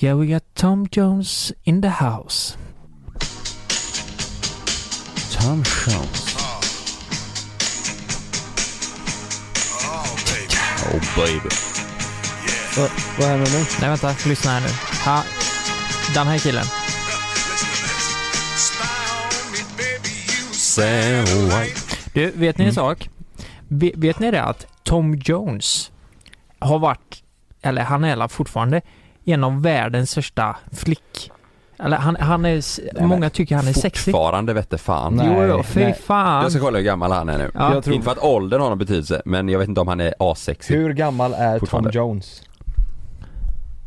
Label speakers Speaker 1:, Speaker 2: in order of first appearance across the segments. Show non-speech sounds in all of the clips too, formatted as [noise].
Speaker 1: Yeah, we got Tom Jones in the house.
Speaker 2: Tom Jones.
Speaker 3: Oh, baby.
Speaker 2: Oh baby.
Speaker 3: Yeah.
Speaker 2: Va, vad händer nu?
Speaker 1: Nej, vänta. Lyssna här nu. Ha, den här killen.
Speaker 3: Listen to this. Spy on me, baby, you
Speaker 2: Satellite.
Speaker 1: Du, vet ni en sak? Ve- vet ni det att Tom Jones har varit, eller han är i alla fall fortfarande, en av världens största flick... Eller han, han är, s-
Speaker 4: men
Speaker 1: många tycker han är sexig.
Speaker 4: Fortfarande vette fan.
Speaker 2: Nej.
Speaker 1: Jo, jo, fy
Speaker 2: nej.
Speaker 4: Jag
Speaker 1: fan.
Speaker 4: ska kolla hur gammal han är nu.
Speaker 1: Ja.
Speaker 2: Jag tror-
Speaker 4: Inte för att åldern har någon betydelse, men jag vet inte om han är asexig.
Speaker 2: Hur gammal är Tom
Speaker 4: Fortfarande.
Speaker 2: Jones?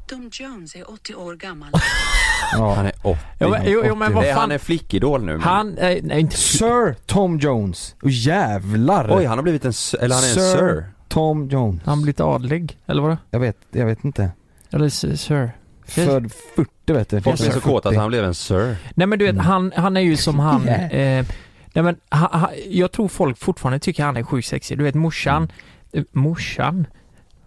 Speaker 5: Tom Jones är 80 år gammal.
Speaker 4: Han
Speaker 2: Ja.
Speaker 4: är 80.
Speaker 1: Jo, men- jo, jo, men vad
Speaker 4: Nej,
Speaker 1: fan.
Speaker 4: han är flickidol nu. men-
Speaker 1: Han, eh, nej inte...
Speaker 2: Sir Tom Jones. Och jävlar!
Speaker 4: Oj, han har blivit en, s- eller han är en
Speaker 2: Sir.
Speaker 4: sir.
Speaker 2: Tom Jones.
Speaker 1: Han blivit adlig, eller vadå?
Speaker 2: Jag vet, jag vet inte.
Speaker 1: Eller s- sir.
Speaker 2: Född 40 vet du.
Speaker 4: Folk blir så kåta att
Speaker 2: 40.
Speaker 4: han blev en sir.
Speaker 1: Nej men du vet,
Speaker 2: Mm.
Speaker 1: han, han är ju som han...
Speaker 2: Yeah.
Speaker 1: eh, nej men, ha, ha, jag tror folk fortfarande tycker han är sjukt sexig. Du vet morsan... eh, Morsan?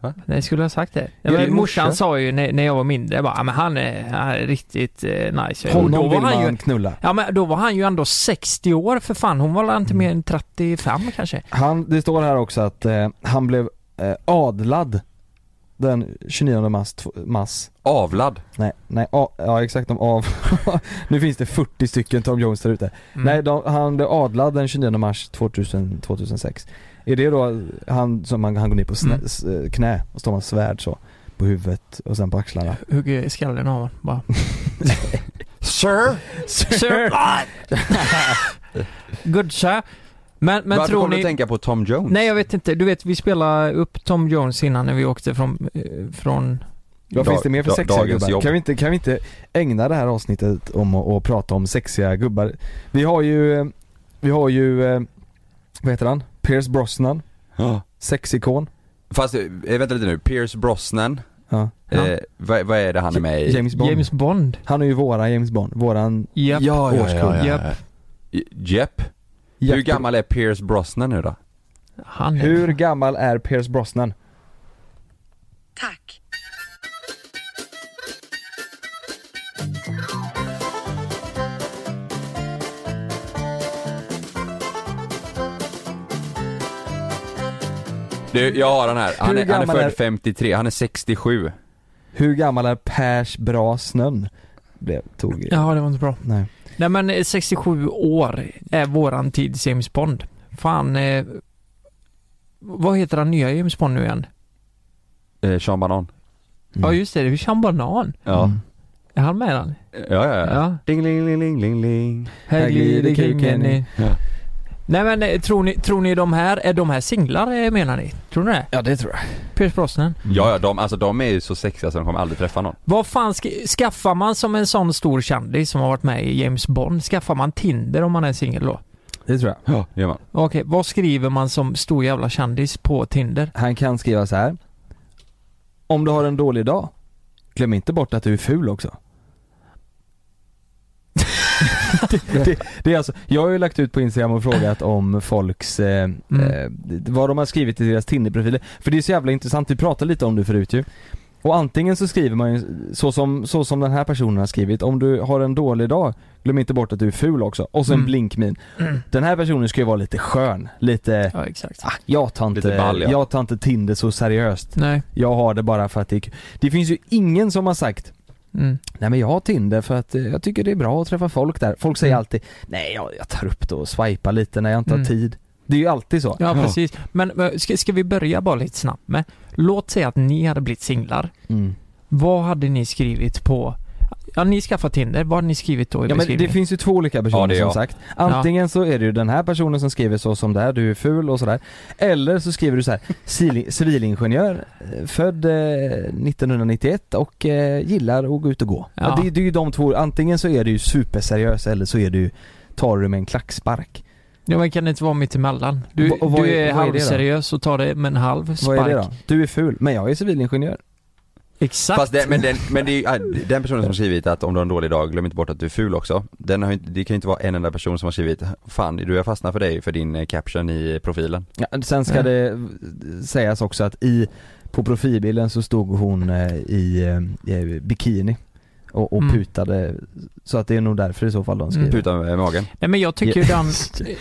Speaker 4: Va?
Speaker 1: Nej, skulle jag ha sagt det?
Speaker 4: Ja,
Speaker 1: Ja,
Speaker 4: det är
Speaker 1: men, morsan
Speaker 4: morsa.
Speaker 1: sa ju när, när jag var mindre, jag bara, "Ja, men han är, han är riktigt eh, nice. Och
Speaker 2: Honom vill
Speaker 1: han
Speaker 2: man
Speaker 1: ju,
Speaker 2: knulla.
Speaker 1: Ja men då var han ju ändå 60 år för fan, hon var väl inte mer än 35 kanske?
Speaker 2: Han, det står här också att eh, han blev eh, adlad den 29 mars, tw- mars.
Speaker 4: Avlad.
Speaker 2: Nej, nej, a, ja exakt de av. [laughs] nu finns det 40 stycken Tom Jones där ute.
Speaker 1: Mm.
Speaker 2: Nej, de, han blev adlad den 29 mars 2000, 2006. Är det då han som han, han går ner på snä,
Speaker 1: Mm.
Speaker 2: s, eh, knä och står med svärd så på huvudet och sen på axlarna?
Speaker 1: Hugger skallen av honom bara.
Speaker 4: Sir?
Speaker 1: Sir! Good sir. Men, men
Speaker 4: Varför
Speaker 1: tror
Speaker 4: kommer du
Speaker 1: ni...
Speaker 4: tänka på Tom Jones?
Speaker 1: Nej jag vet inte, du vet vi spelade upp Tom Jones innan när vi åkte från, eh, från
Speaker 2: Vad
Speaker 4: Dag-
Speaker 2: finns det mer för
Speaker 4: da-
Speaker 2: sexiga
Speaker 4: dagens
Speaker 2: gubbar?
Speaker 4: jobb.
Speaker 2: Kan vi, inte, kan vi inte ägna det här avsnittet om att att prata om sexiga gubbar? Vi har ju, eh, vi har ju, eh, vad heter han? Pierce Brosnan,
Speaker 4: Ja.
Speaker 2: sexikon.
Speaker 4: Fast, eh, vänta lite nu. Pierce Brosnan.
Speaker 2: Ja.
Speaker 1: Ja.
Speaker 4: Eh, vad, vad är det han är med i?
Speaker 2: James Bond.
Speaker 1: James Bond.
Speaker 2: Han är ju våran James Bond, våran
Speaker 1: Japp.
Speaker 4: Ja, ja,
Speaker 2: Årskull.
Speaker 4: ja, ja, ja.
Speaker 1: Japp.
Speaker 4: Jepp. Hur gammal är Pierce Brosnan nu då?
Speaker 1: Han är...
Speaker 2: Hur gammal är Pierce Brosnan?
Speaker 5: Tack.
Speaker 4: Du, jag har den här. Han
Speaker 2: Hur
Speaker 4: är, han är
Speaker 2: gammal
Speaker 4: född
Speaker 2: är-
Speaker 4: 53, han är 67.
Speaker 2: Hur gammal är Pers Brasnön? Blev, tog
Speaker 1: Ja det var inte bra.
Speaker 2: Nej.
Speaker 1: Nej men eh, 67 år är våran tids James Bond. Fan, eh, vad heter han nya James Bond nu igen?
Speaker 4: Eh, Sean Banan.
Speaker 1: Ja just det, det är Sean Banan.
Speaker 4: Ja.
Speaker 2: Mm.
Speaker 1: Är han med han?
Speaker 4: Ja, ja, ja.
Speaker 1: Ja.
Speaker 4: Ding, ling, ling, ling, ling, ling.
Speaker 1: Här glider kuken i.
Speaker 4: Ja.
Speaker 1: Nej men eh, tror ni, tror ni de här, är de här singlar eh, menar ni? Tror ni det?
Speaker 2: Ja det tror jag.
Speaker 1: Pierce Brosnan?
Speaker 4: Ja, ja, de, alltså de är ju så sexiga så de kommer aldrig träffa någon.
Speaker 1: Vad fan ska, skaffar man som en sån stor kändis som har varit med i James Bond? Skaffar man Tinder om man är singel då?
Speaker 2: Det tror jag.
Speaker 4: Ja, det gör man.
Speaker 1: Okej, vad skriver man som stor jävla kändis på Tinder?
Speaker 2: Han kan skriva så här. Om du har en dålig dag, glöm inte bort att du är
Speaker 1: [laughs]
Speaker 2: ful också. det, det, det är alltså, jag har ju lagt ut på Instagram och frågat om folks, eh,
Speaker 1: Mm.
Speaker 2: eh, vad de har skrivit i deras Tinder-profiler. För det är så jävla intressant, vi pratade lite om det förut ju. Och antingen så skriver man ju så som, så som den här personen har skrivit, om du har en dålig dag, glöm inte bort att du är ful också. Och så en
Speaker 1: Mm.
Speaker 2: blinkmin. Den här personen ska ju vara lite skön, lite
Speaker 1: Ja, exakt.
Speaker 2: Ah, jag tar
Speaker 4: Lite
Speaker 2: inte,
Speaker 4: ball, ja.
Speaker 2: jag tar inte Tinder så seriöst.
Speaker 1: Nej.
Speaker 2: Jag har det bara för att det är kul. Det finns ju ingen som har sagt
Speaker 1: Mm.
Speaker 2: Nej men jag har Tinder för att eh, jag tycker det är bra att träffa folk där. Folk säger
Speaker 1: Mm.
Speaker 2: alltid Nej jag, jag tar upp det och swipar lite när jag inte
Speaker 1: Mm.
Speaker 2: har tid. Det är ju alltid så.
Speaker 1: Ja, precis. Men eh, ska, ska vi börja bara lite snabbt med? Låt säga att ni hade blivit singlar.
Speaker 2: Mm.
Speaker 1: Vad hade ni skrivit på... Ja, ni skaffade Tinder. Vad hade ni skrivit då i
Speaker 2: Ja men det
Speaker 1: beskrivningen?
Speaker 2: finns ju två olika personer
Speaker 4: Ja, det är
Speaker 2: som
Speaker 4: jag.
Speaker 2: sagt. Antingen så är det ju den här personen som skriver så som det här, du är ful och sådär. Eller så skriver du så här, [laughs] "Civil- civilingenjör, eh, född eh, 1991 och eh, gillar att gå ut och gå. Ja.
Speaker 1: Ja.
Speaker 2: det, det är ju de två, antingen så är du ju superseriös eller så är du tar du med en klackspark.
Speaker 1: Ja, men kan det inte vara mitt emellan? Du,
Speaker 2: Och- och vad
Speaker 1: du
Speaker 2: är-
Speaker 1: är,
Speaker 2: vad är det då?
Speaker 1: halvseriös och tar det med en halv spark.
Speaker 2: Vad är det då? Du är ful, men jag är civilingenjör.
Speaker 1: Exakt.
Speaker 4: Fast det, men, den, men det är, ju- ah, den personen som har skrivit att om du har en dålig dag, glöm inte bort att du är ful också. Den har ju inte, det kan ju inte vara en enda person som har skrivit, fan du jag fastnar för dig för din eh, caption i profilen.
Speaker 2: Ja, sen ska
Speaker 1: Ja.
Speaker 2: det
Speaker 1: Mm.
Speaker 2: eh, sägas också att i, på profilbilden så stod hon eh, i eh, bikini. och, och
Speaker 1: Mm.
Speaker 2: putade Så att det är nog därför i så fall de skriver
Speaker 1: Mm.
Speaker 4: Puta med magen.
Speaker 1: Nej men jag tycker ju den,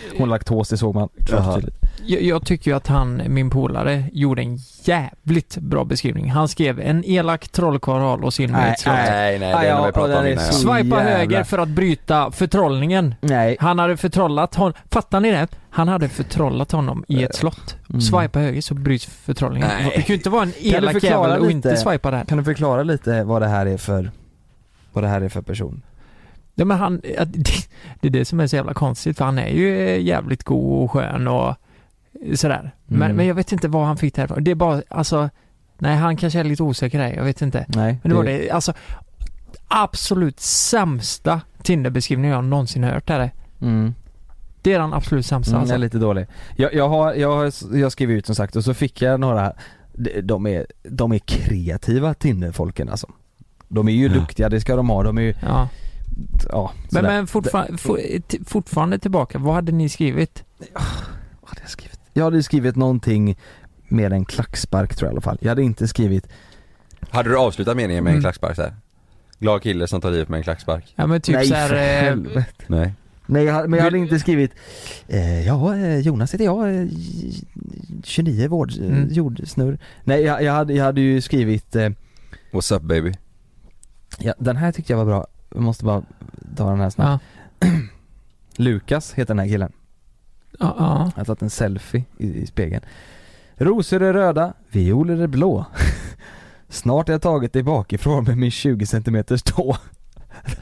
Speaker 2: [laughs] Hon laktos, det såg man klart
Speaker 4: Jaha.
Speaker 2: tydligt
Speaker 1: jag, jag tycker ju att han, min polare, gjorde en jävligt bra beskrivning. Han skrev en elak trollkarl har låst in mig i ett slott.
Speaker 2: Nej.
Speaker 4: Nej nej,
Speaker 2: Ah,
Speaker 4: den
Speaker 2: ja,
Speaker 4: har vi pratat
Speaker 2: den
Speaker 4: om
Speaker 2: är
Speaker 4: innan ja.
Speaker 2: så-
Speaker 1: Swipa
Speaker 2: Jävlar.
Speaker 1: höger för att bryta förtrollningen.
Speaker 2: Nej
Speaker 1: Han hade förtrollat honom. Fattar ni det? Han hade förtrollat honom i ett slott.
Speaker 2: Mm.
Speaker 1: Swipa höger så bryts förtrollningen.
Speaker 4: Nej.
Speaker 1: Det kan ju inte vara en elak
Speaker 2: förklara
Speaker 1: jävel och
Speaker 2: lite?
Speaker 1: inte swipa där.
Speaker 2: Kan du förklara lite vad det här är för Vad det här är för person?
Speaker 1: Ja, men han, att- det- det är det som är så jävla konstigt för han är ju eh, jävligt god och skön och sådär. Men,
Speaker 2: Mm.
Speaker 1: men jag vet inte vad han fick det här ifrån. Det är bara, alltså, nej han kanske är lite osäker där, jag vet inte.
Speaker 2: Nej
Speaker 1: Men det var det, alltså absolut sämsta Tinder-beskrivningen jag någonsin hört är det.
Speaker 2: Mm.
Speaker 1: Det är den absolut sämsta
Speaker 2: Mm,
Speaker 1: alltså.
Speaker 2: jag är lite dålig. Jag, jag, har, jag, har, jag skrev ut som sagt och så fick jag några, de- de är, de är kreativa Tinderfolken alltså. De är ju
Speaker 4: Ja.
Speaker 1: Mm.
Speaker 2: duktiga, det ska de ha. De är ju,
Speaker 1: Ja.
Speaker 2: ja,
Speaker 1: Men,
Speaker 2: sådär.
Speaker 1: men fortfarande, for, t- fortfarande tillbaka, vad hade ni skrivit?
Speaker 2: Vad hade jag skrivit? Jag hade ju skrivit någonting med en klackspark tror jag i alla fall. Jag hade inte skrivit,
Speaker 4: Hade du avslutat meningen med en
Speaker 1: Mm.
Speaker 4: klackspark där? Glad kille som tar livet med en klackspark.
Speaker 1: Ja men typ
Speaker 2: nej
Speaker 1: såhär,
Speaker 2: för
Speaker 1: eh,
Speaker 2: helvete.
Speaker 4: Nej.
Speaker 2: Nej jag, hade- men jag hade inte skrivit, eh, ja eh, Jonas heter jag, eh, j- 29 vård,
Speaker 1: Mm.
Speaker 2: mm. jordsnurr. Nej jag, jag, hade, jag hade ju skrivit eh,
Speaker 4: What's up baby?
Speaker 2: Ja, den här tyckte jag var bra. Jag måste bara ta den här snabbt.
Speaker 1: ja,
Speaker 2: Lukas heter den här killen.
Speaker 1: ja, ja.
Speaker 2: Jag har tagit en selfie i, i spegeln. Rosor är röda, violer är blå. [laughs] Snart har jag tagit dig bakifrån med min 20 cm tå.
Speaker 1: Ja,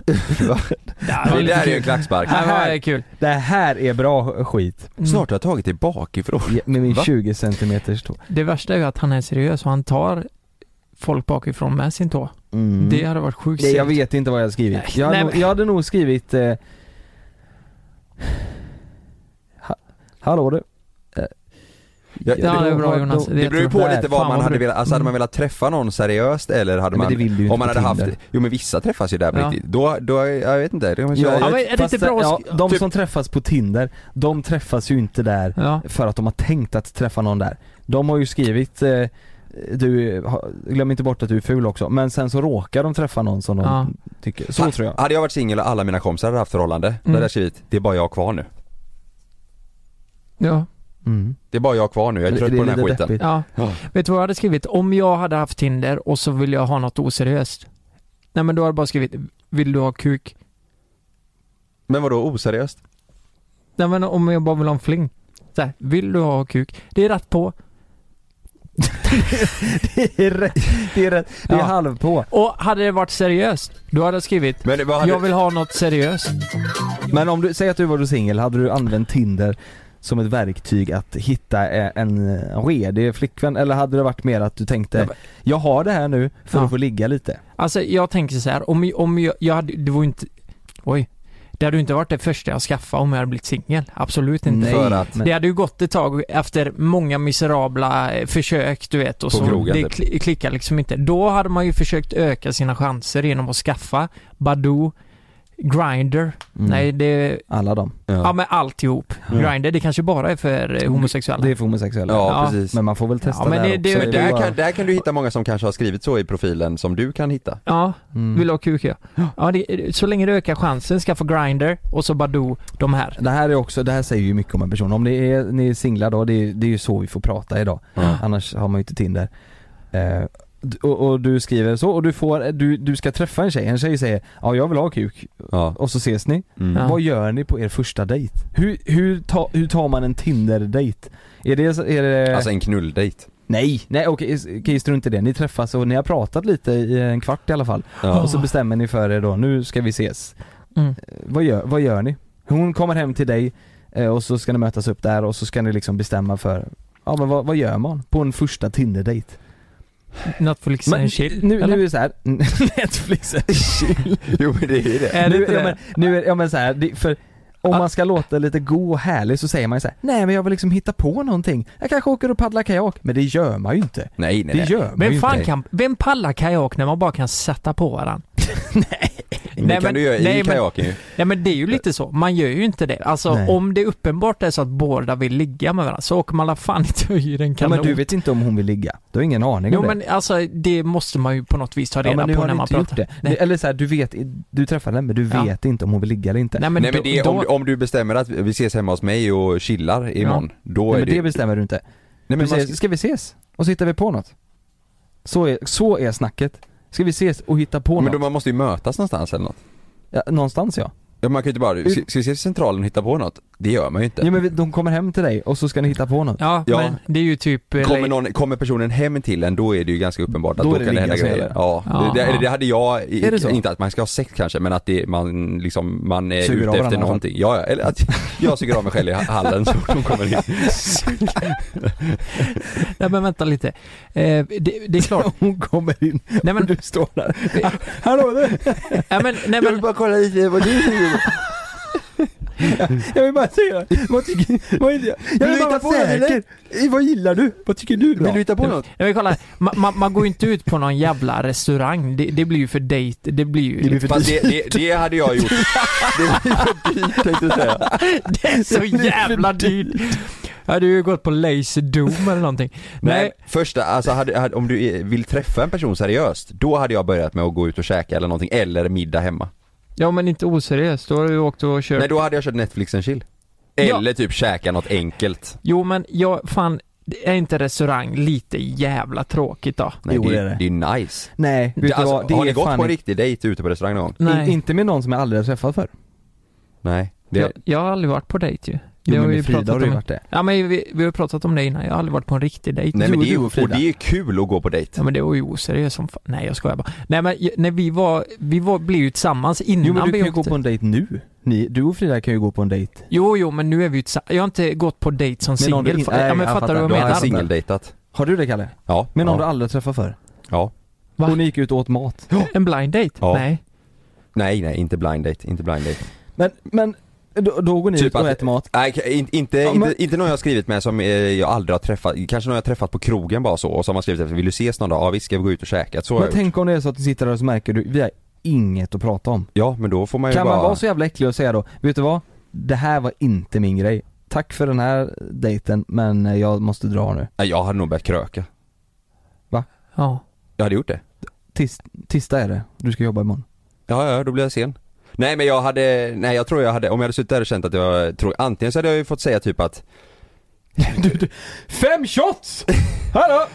Speaker 4: Det där är ju en
Speaker 1: kul.
Speaker 4: klackspark.
Speaker 1: Ja, det här är kul.
Speaker 2: [laughs] Det här är bra skit.
Speaker 1: Mm.
Speaker 4: Snart har jag tagit dig bakifrån.
Speaker 2: Med min
Speaker 4: Va?
Speaker 2: 20 cm tå.
Speaker 1: Det värsta är ju att han är seriös och han tar folk bakifrån med sin tå.
Speaker 2: Mm.
Speaker 1: Det hade varit sjukt
Speaker 2: Nej, jag
Speaker 1: segt.
Speaker 2: vet inte vad jag hade
Speaker 1: Nej,
Speaker 2: skrivit. Jag hade,
Speaker 1: nej,
Speaker 2: nog,
Speaker 1: men-
Speaker 2: jag hade nog skrivit... Eh... Ha, hallå du. Eh,
Speaker 4: Ja,
Speaker 1: Ja, det är bra, Jonas.
Speaker 4: Det beror ju på
Speaker 2: Där.
Speaker 4: lite vad
Speaker 1: Fan,
Speaker 4: man
Speaker 1: vad
Speaker 4: hade
Speaker 1: bra.
Speaker 4: velat, alltså hade man velat träffa någon seriöst eller hade
Speaker 2: Nej, men det
Speaker 4: man
Speaker 2: vill du ju inte
Speaker 4: om man
Speaker 2: på
Speaker 4: hade haft,
Speaker 2: Tinder.
Speaker 4: jo men vissa träffas ju där på
Speaker 1: Ja.
Speaker 4: riktigt. Då, då, jag vet inte. Det kan man
Speaker 2: Ja,
Speaker 4: säga.
Speaker 1: men är det
Speaker 2: fast eh,
Speaker 1: inte bra att sk-
Speaker 2: ja, de
Speaker 4: typ-
Speaker 2: som träffas på Tinder, de träffas ju inte där
Speaker 1: Ja.
Speaker 2: för att de har tänkt att träffa någon där. De har ju skrivit eh, du, ha- glöm inte bort att du är ful också, men sen så råkar de träffa någon som de
Speaker 1: Ja.
Speaker 2: tycker, så
Speaker 4: Ha-
Speaker 2: tror [laughs] jag.
Speaker 4: Hade jag varit singel och alla mina kompisar hade haft förhållande, då hade jag skrivit det är bara jag kvar nu.
Speaker 1: Ja.
Speaker 2: Mm.
Speaker 4: Det är bara jag kvar nu, jag är trött
Speaker 2: Det-
Speaker 4: på den här
Speaker 2: det är lite
Speaker 4: skiten.
Speaker 2: deppigt.
Speaker 1: ja.
Speaker 4: Ja.
Speaker 1: Vet du vad jag hade skrivit? Om jag hade haft Tinder och så vill jag ha något oseriöst. Nej men då hade jag bara skrivit, vill du ha kuk?
Speaker 4: Men vadå oseriöst?
Speaker 1: Nej men om jag bara vill ha en fling. Så här, vill du ha kuk? Det är rätt på.
Speaker 2: det är rätt, det är rätt, det är
Speaker 1: Ja.
Speaker 2: halv på.
Speaker 1: Och hade det varit seriöst, då hade jag skrivit,
Speaker 4: Men vad hade,
Speaker 1: jag vill ha något seriöst.
Speaker 2: Men om du, säg att du var singel, hade du använt Tinder som ett verktyg att hitta eh, en redig flickvän eller hade det varit mer att du
Speaker 1: Ja,
Speaker 2: tänkte
Speaker 1: men-
Speaker 2: jag har det här nu för
Speaker 1: Ja.
Speaker 2: att få ligga lite?
Speaker 1: Alltså jag tänker så här, om, om jag, jag hade, det var ju inte, oj. Det hade ju inte varit det första jag skaffade om jag hade blivit singel. Absolut inte.
Speaker 4: för att-
Speaker 2: men-
Speaker 1: Det hade ju gått ett tag efter många miserabla eh, försök du vet och
Speaker 4: På
Speaker 1: så
Speaker 4: krogen,
Speaker 1: det
Speaker 4: typ.
Speaker 1: kli- klickar liksom inte. Då hade man ju försökt öka sina chanser genom att skaffa Badoo, Grindr,
Speaker 2: Mm.
Speaker 1: nej det, ja,
Speaker 2: Alla dem.
Speaker 1: men alltihop.
Speaker 2: Ja.
Speaker 1: Grindr det kanske bara är för eh, homosexuella.
Speaker 2: Det är för homosexuella.
Speaker 4: Ja,
Speaker 1: Ja,
Speaker 4: precis.
Speaker 2: Men man får väl testa
Speaker 1: Ja, men
Speaker 2: där
Speaker 1: det- det-
Speaker 2: också.
Speaker 4: Men
Speaker 2: Det är
Speaker 4: där,
Speaker 2: bara-
Speaker 4: kan, där kan du hitta många som kanske har skrivit så i profilen som du kan hitta.
Speaker 1: Ja,
Speaker 2: Mm.
Speaker 1: vill du ha kuk ja. ja det, så länge du ökar chansen, skaffa Grindr och så Badoo, de här.
Speaker 2: Det här är också, det här säger ju mycket om en person. Om det är, ni är singlar då, det är, det är ju så vi får prata idag.
Speaker 4: Ja.
Speaker 2: Annars har man ju inte Tinder. Eh, d- och, och du skriver så och du får, du, du ska träffa en tjej, en tjej säger ja jag vill ha kuk
Speaker 4: Ja.
Speaker 2: och så ses ni.
Speaker 4: Mm.
Speaker 1: Ja.
Speaker 2: Vad gör ni på er första dejt? Hur, hur, ta, hur tar man en Tinder-dejt? Är det, så- är det...
Speaker 4: Alltså en knulldejt.
Speaker 2: nej! Nej okej, okay, strunt i det. Ni träffas och ni har pratat lite i en kvart i alla fall.
Speaker 4: Ja.
Speaker 2: Och så bestämmer ni för er då, nu ska vi ses.
Speaker 1: Ah. Mm.
Speaker 2: Eh, Vad, gör, vad gör ni? Hon kommer hem till dig eh, och så ska ni mötas upp där och så ska ni liksom bestämma för Ja men vad, vad gör man på en första Tinder-dejt?
Speaker 1: Netflix
Speaker 2: Men
Speaker 1: and chill.
Speaker 2: nu,
Speaker 1: eller?
Speaker 2: nu är det såhär, [laughs]
Speaker 1: [laughs]
Speaker 2: Netflix and chill.
Speaker 4: Jo men det är det.
Speaker 1: är det
Speaker 2: nu,
Speaker 1: inte
Speaker 2: ja,
Speaker 1: det?
Speaker 2: men, nu är, ja men såhär, det- för om
Speaker 1: Ah.
Speaker 2: man ska låta lite god och härlig så säger man ju såhär, nej men jag vill liksom hitta på någonting. Jag kanske åker och paddlar kajak. Men det gör man ju inte.
Speaker 4: Nej nej
Speaker 2: Det
Speaker 4: nej.
Speaker 2: gör man ju
Speaker 1: Vem fan
Speaker 2: inte.
Speaker 1: kan, vem pallar kajak när man bara kan sätta på varann?
Speaker 4: Men det
Speaker 1: Nej,
Speaker 4: kan
Speaker 1: men-
Speaker 4: du göra
Speaker 1: nej,
Speaker 4: i
Speaker 1: men-
Speaker 4: kajaken ju.
Speaker 1: Nej men det är ju lite så, man gör ju inte det. Alltså
Speaker 2: Nej.
Speaker 1: om det uppenbart är så att båda vill ligga med varandra så åker man alla fan inte och hyr en
Speaker 2: Ja,
Speaker 1: kanot.
Speaker 2: men du vet inte om hon vill ligga. Du har ingen aning
Speaker 1: jo
Speaker 2: om det.
Speaker 1: men alltså det måste man ju på något vis ta
Speaker 2: Ja,
Speaker 1: reda
Speaker 2: men nu
Speaker 1: på
Speaker 2: har
Speaker 1: när
Speaker 2: du
Speaker 1: man
Speaker 2: inte gjort
Speaker 1: pratar.
Speaker 2: det.
Speaker 1: Nej.
Speaker 2: Eller så här, du vet, du träffar henne men du
Speaker 1: Ja.
Speaker 2: vet inte om hon vill ligga eller inte.
Speaker 1: Nej men,
Speaker 4: Nej men det,
Speaker 1: då,
Speaker 4: om,
Speaker 1: då,
Speaker 4: du- om du bestämmer att vi ses hemma hos mig och chillar imorgon, då
Speaker 2: Nej,
Speaker 4: är
Speaker 2: men det
Speaker 4: det
Speaker 2: bestämmer du inte.
Speaker 4: Nej
Speaker 2: Du
Speaker 4: men man,
Speaker 2: säger, ska vi ses? Och så hittar vi på något. Så är, så är snacket. Ska vi ses och hitta på
Speaker 4: men
Speaker 2: något?
Speaker 4: då man måste ju mötas någonstans eller något.
Speaker 2: Ja, någonstans ja.
Speaker 4: Ja, Man kan ju inte bara, ska, ska vi ses i centralen och hitta på något? Det gör man ju inte.
Speaker 2: Jo men vi- de kommer hem till dig och så ska ni hitta på något.
Speaker 1: ja,
Speaker 4: Ja.
Speaker 1: men det är ju typ...
Speaker 4: Kommer, någon, kommer personen hem till en, då är det ju ganska uppenbart att
Speaker 2: Då
Speaker 4: då,
Speaker 2: är det
Speaker 4: kan det hända
Speaker 2: ligga som
Speaker 4: grejer.
Speaker 2: gäller.
Speaker 4: Ja,
Speaker 1: Ja,
Speaker 4: det,
Speaker 1: ja.
Speaker 4: det, det hade jag, i-
Speaker 2: Är det så?
Speaker 4: inte att man ska ha sex kanske, men att det, man liksom, man är
Speaker 2: Suger av
Speaker 4: ute
Speaker 2: varandra. alltså.
Speaker 4: efter någonting. Ja, ja, eller att [laughs] jag suger av mig själv i hallen så fort hon kommer in.
Speaker 1: Nej men vänta lite. Eh, det, det är klart.
Speaker 2: [laughs] Hon kommer in
Speaker 1: nej men,
Speaker 2: [laughs] och du står där. Hallå du!
Speaker 1: nej men, nej men,
Speaker 4: bara kolla lite vad du
Speaker 2: Jag vill bara säga, vad tycker, vad är det? Jag vill
Speaker 4: hitta
Speaker 2: bara
Speaker 4: på
Speaker 2: vara
Speaker 4: något,
Speaker 2: säker. Vad gillar du? Vad tycker du? är bra?
Speaker 4: Vill du hitta på något?
Speaker 1: nej men kolla. Man, man, man går ju inte ut på någon jävla restaurang. Det, det blir ju för dejt, det blir ju...
Speaker 2: Det blir för
Speaker 4: Fast det, det, det hade
Speaker 2: [laughs]
Speaker 4: jag gjort. Det blir för dyrt tänkte jag säga.
Speaker 1: Det är så jävla dyrt. Jag hade ju gått på Lazy Doom eller någonting.
Speaker 4: Nej,
Speaker 1: Nej.
Speaker 4: första, alltså hade, hade, om du eh, vill träffa en person seriöst, då hade jag börjat med att gå ut och käka eller någonting, eller middag hemma.
Speaker 1: Ja men inte oseriöst, då har du ju åkt och kört.
Speaker 4: Nej, då hade jag kört Netflix and chill.
Speaker 1: Ja.
Speaker 4: Eller typ käka något enkelt.
Speaker 1: Jo men jag, fan, är inte restaurang lite jävla tråkigt då?
Speaker 4: Nej,
Speaker 2: Jo,
Speaker 4: det,
Speaker 2: det är
Speaker 4: är
Speaker 2: det.
Speaker 4: det är nice.
Speaker 2: Nej, vet du
Speaker 4: alltså,
Speaker 2: vad? Det
Speaker 4: har
Speaker 2: är
Speaker 4: ni gått
Speaker 2: fan
Speaker 4: på en
Speaker 2: inte-
Speaker 4: riktig dejt ute på restaurang någon gång?
Speaker 1: Nej.
Speaker 2: in- inte med någon som jag aldrig har träffat förr.
Speaker 4: Nej. Det,
Speaker 1: Jag, jag har aldrig varit på dejt ju. Det
Speaker 2: Jo
Speaker 1: har
Speaker 2: men
Speaker 1: vi
Speaker 2: med Frida
Speaker 1: pratat
Speaker 2: har du
Speaker 1: om.
Speaker 2: varit det.
Speaker 1: Ja men vi, vi har pratat om det innan, jag har aldrig varit på en riktig dejt.
Speaker 4: nej
Speaker 2: du
Speaker 4: men
Speaker 2: och
Speaker 4: det är,
Speaker 2: du
Speaker 4: ju-
Speaker 2: och Frida.
Speaker 4: och det är ju kul att gå på dejt.
Speaker 1: Ja men det var ju oseriöst som fan. Nej jag skojar bara. Nej men j- när vi var, vi var, blev ju tillsammans innan
Speaker 2: Jo men du
Speaker 1: vi
Speaker 2: kan ju gå på en dejt nu. Ni, du och Frida kan ju gå på en dejt.
Speaker 1: Jo jo men nu är vi ju tillsammans. Jag har inte gått på dejt som
Speaker 2: Med någon du
Speaker 1: singel.
Speaker 2: inte-
Speaker 1: Fa- Ja
Speaker 2: nej,
Speaker 1: men
Speaker 2: jag
Speaker 1: fattar du
Speaker 2: fattar.
Speaker 1: vad
Speaker 4: Du
Speaker 1: jag
Speaker 4: har
Speaker 2: menar.
Speaker 4: singeldejtat.
Speaker 2: Har du det Kalle?
Speaker 4: Ja.
Speaker 2: Med någon du
Speaker 4: ja.
Speaker 2: aldrig har träffat förr?
Speaker 4: ja.
Speaker 1: Va?
Speaker 2: Och ni gick ut och åt mat.
Speaker 1: En blind date?
Speaker 4: Ja.
Speaker 1: Nej.
Speaker 4: Nej nej, inte blind date, inte blind date.
Speaker 2: Men, men då, då går ni
Speaker 4: Typ
Speaker 2: ut och
Speaker 4: att-
Speaker 2: äter mat.
Speaker 4: Nej, k- in, inte,
Speaker 2: Ja, men-
Speaker 4: inte, inte någon jag har skrivit med som eh, jag aldrig har träffat, kanske någon jag har träffat på krogen bara så och som har skrivit efter, vill du ses någon dag? Ja visst ska vi gå ut och käka, så har
Speaker 2: Men
Speaker 4: jag gjort.
Speaker 2: tänk om det är så att du sitter där och så märker du, vi har inget att prata om.
Speaker 4: Ja men då får man ju
Speaker 2: Kan
Speaker 4: bara...
Speaker 2: man vara så jävla äcklig och säga då, vet du vad? Det här var inte min grej. Tack för den här dejten men eh, jag måste dra nu.
Speaker 4: Nej, jag hade nog börjat kröka.
Speaker 1: Ja.
Speaker 4: Jag hade gjort det.
Speaker 2: Tis, tisdag är det, du ska jobba [laughs] imorgon.
Speaker 4: Ja, ja, då blir jag sen. Nej men jag hade, nej jag tror jag hade, om jag hade suttit där och känt att jag, tror, antingen så hade jag ju fått säga typ att
Speaker 2: Fem shots! [laughs] Hallå!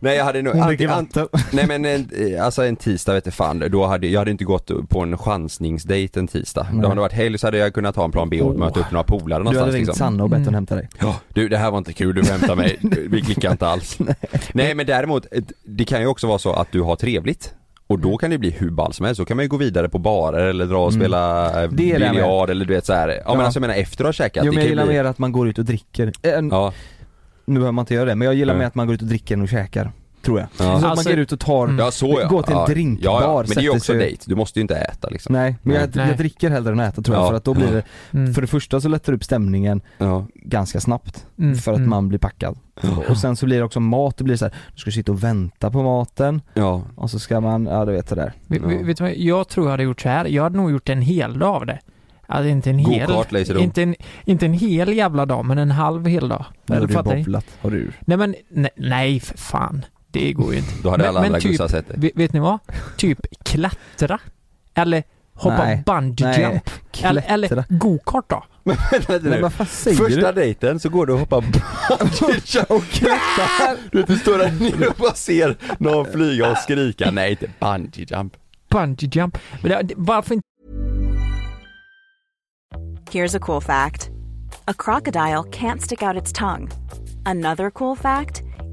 Speaker 4: Nej jag hade nog,
Speaker 2: Mm. Hon dricker
Speaker 4: antingen, an,
Speaker 2: vatten.
Speaker 4: nej men en, eh, alltså en tisdag vet du fan, då hade, jag hade inte gått på en chansningsdejt en tisdag.
Speaker 2: Nej.
Speaker 4: Då hade det varit helg så hade jag kunnat ha en plan B och
Speaker 2: Oh.
Speaker 4: möta upp några polare
Speaker 2: Du hade
Speaker 4: någonstans liksom.
Speaker 2: ringt Sanna och bett hon
Speaker 1: Mm.
Speaker 2: hämta dig.
Speaker 4: Ja, du det här var inte kul, du
Speaker 2: [laughs]
Speaker 4: hämtar mig, vi klickar inte alls. Nej. men däremot, eh, det kan ju också vara så att du har trevligt. Och då kan det bli hur ball som helst, så kan man ju gå vidare på barer eller dra och
Speaker 2: Mm.
Speaker 4: spela eh,
Speaker 2: Det är det jag
Speaker 4: biljard eller du vet så här. Ja,
Speaker 2: Ja.
Speaker 4: men alltså jag menar efter att ha käkat,
Speaker 2: Jo men
Speaker 4: det
Speaker 2: jag
Speaker 4: kan ju
Speaker 2: gillar
Speaker 4: bli...
Speaker 2: mer att man går ut och dricker. Eh,
Speaker 4: Ja,
Speaker 2: Nu behöver man inte göra det, men jag gillar
Speaker 4: Nej.
Speaker 2: mer att man går ut och dricker än och käkar. Tror jag. Så
Speaker 4: Ja.
Speaker 2: att
Speaker 1: Alltså-
Speaker 2: man går ut och tar,
Speaker 1: Mm.
Speaker 4: ja så ja.
Speaker 2: Gå till en
Speaker 4: ja.
Speaker 2: drinkbar,
Speaker 4: ja, ja. men det är ju
Speaker 2: sätter
Speaker 4: också
Speaker 2: sig-
Speaker 4: dejt, du måste ju inte äta liksom.
Speaker 2: nej men jag,
Speaker 1: Nej.
Speaker 2: jag dricker hellre än äter tror jag
Speaker 4: Ja.
Speaker 2: för att då blir det,
Speaker 1: Mm.
Speaker 2: för det första så lättar det upp stämningen
Speaker 4: Ja.
Speaker 2: ganska snabbt
Speaker 1: Mm,
Speaker 2: för att
Speaker 1: mm.
Speaker 2: man blir packad. Och sen så blir det också mat, det blir så här, du ska sitta och vänta på maten
Speaker 4: ja.
Speaker 2: och så ska man, ja du vet det där.
Speaker 1: Vi- vi-
Speaker 4: Ja.
Speaker 1: Vet du vad, jag tror jag hade gjort så här. Jag hade nog gjort en hel dag av det. Alltså inte en hel...
Speaker 4: Go-kart, Lazy Dome.
Speaker 1: inte, en, inte en hel jävla dag, men en halv hel dag.
Speaker 2: Nu har
Speaker 1: Eller
Speaker 2: du
Speaker 1: fattar ni?
Speaker 2: bobblat. Har du?
Speaker 1: Nej men, nej, nej för fan. Det går ju inte.
Speaker 4: Då hade
Speaker 1: Men-
Speaker 4: alla
Speaker 1: men
Speaker 4: andra
Speaker 1: typ-
Speaker 4: gussar sett det.
Speaker 1: Ve- vet ni vad? Typ klättra. Eller hoppa
Speaker 2: Nej.
Speaker 1: bungee
Speaker 2: Nej,
Speaker 1: jump. Eller, eller go-kart då.
Speaker 2: [laughs] Men vad fan säger
Speaker 4: Första
Speaker 2: du?
Speaker 4: dejten så går du och
Speaker 2: [laughs]
Speaker 4: hoppar bungee och klättrar. Du vet, du står där nere och bara ser någon flyga och skrika, nej inte bungee jump.
Speaker 1: Bungee jump. Men det, det- varför inte?
Speaker 6: Here's a cool fact a crocodile can't stick out its tongue. Another cool fact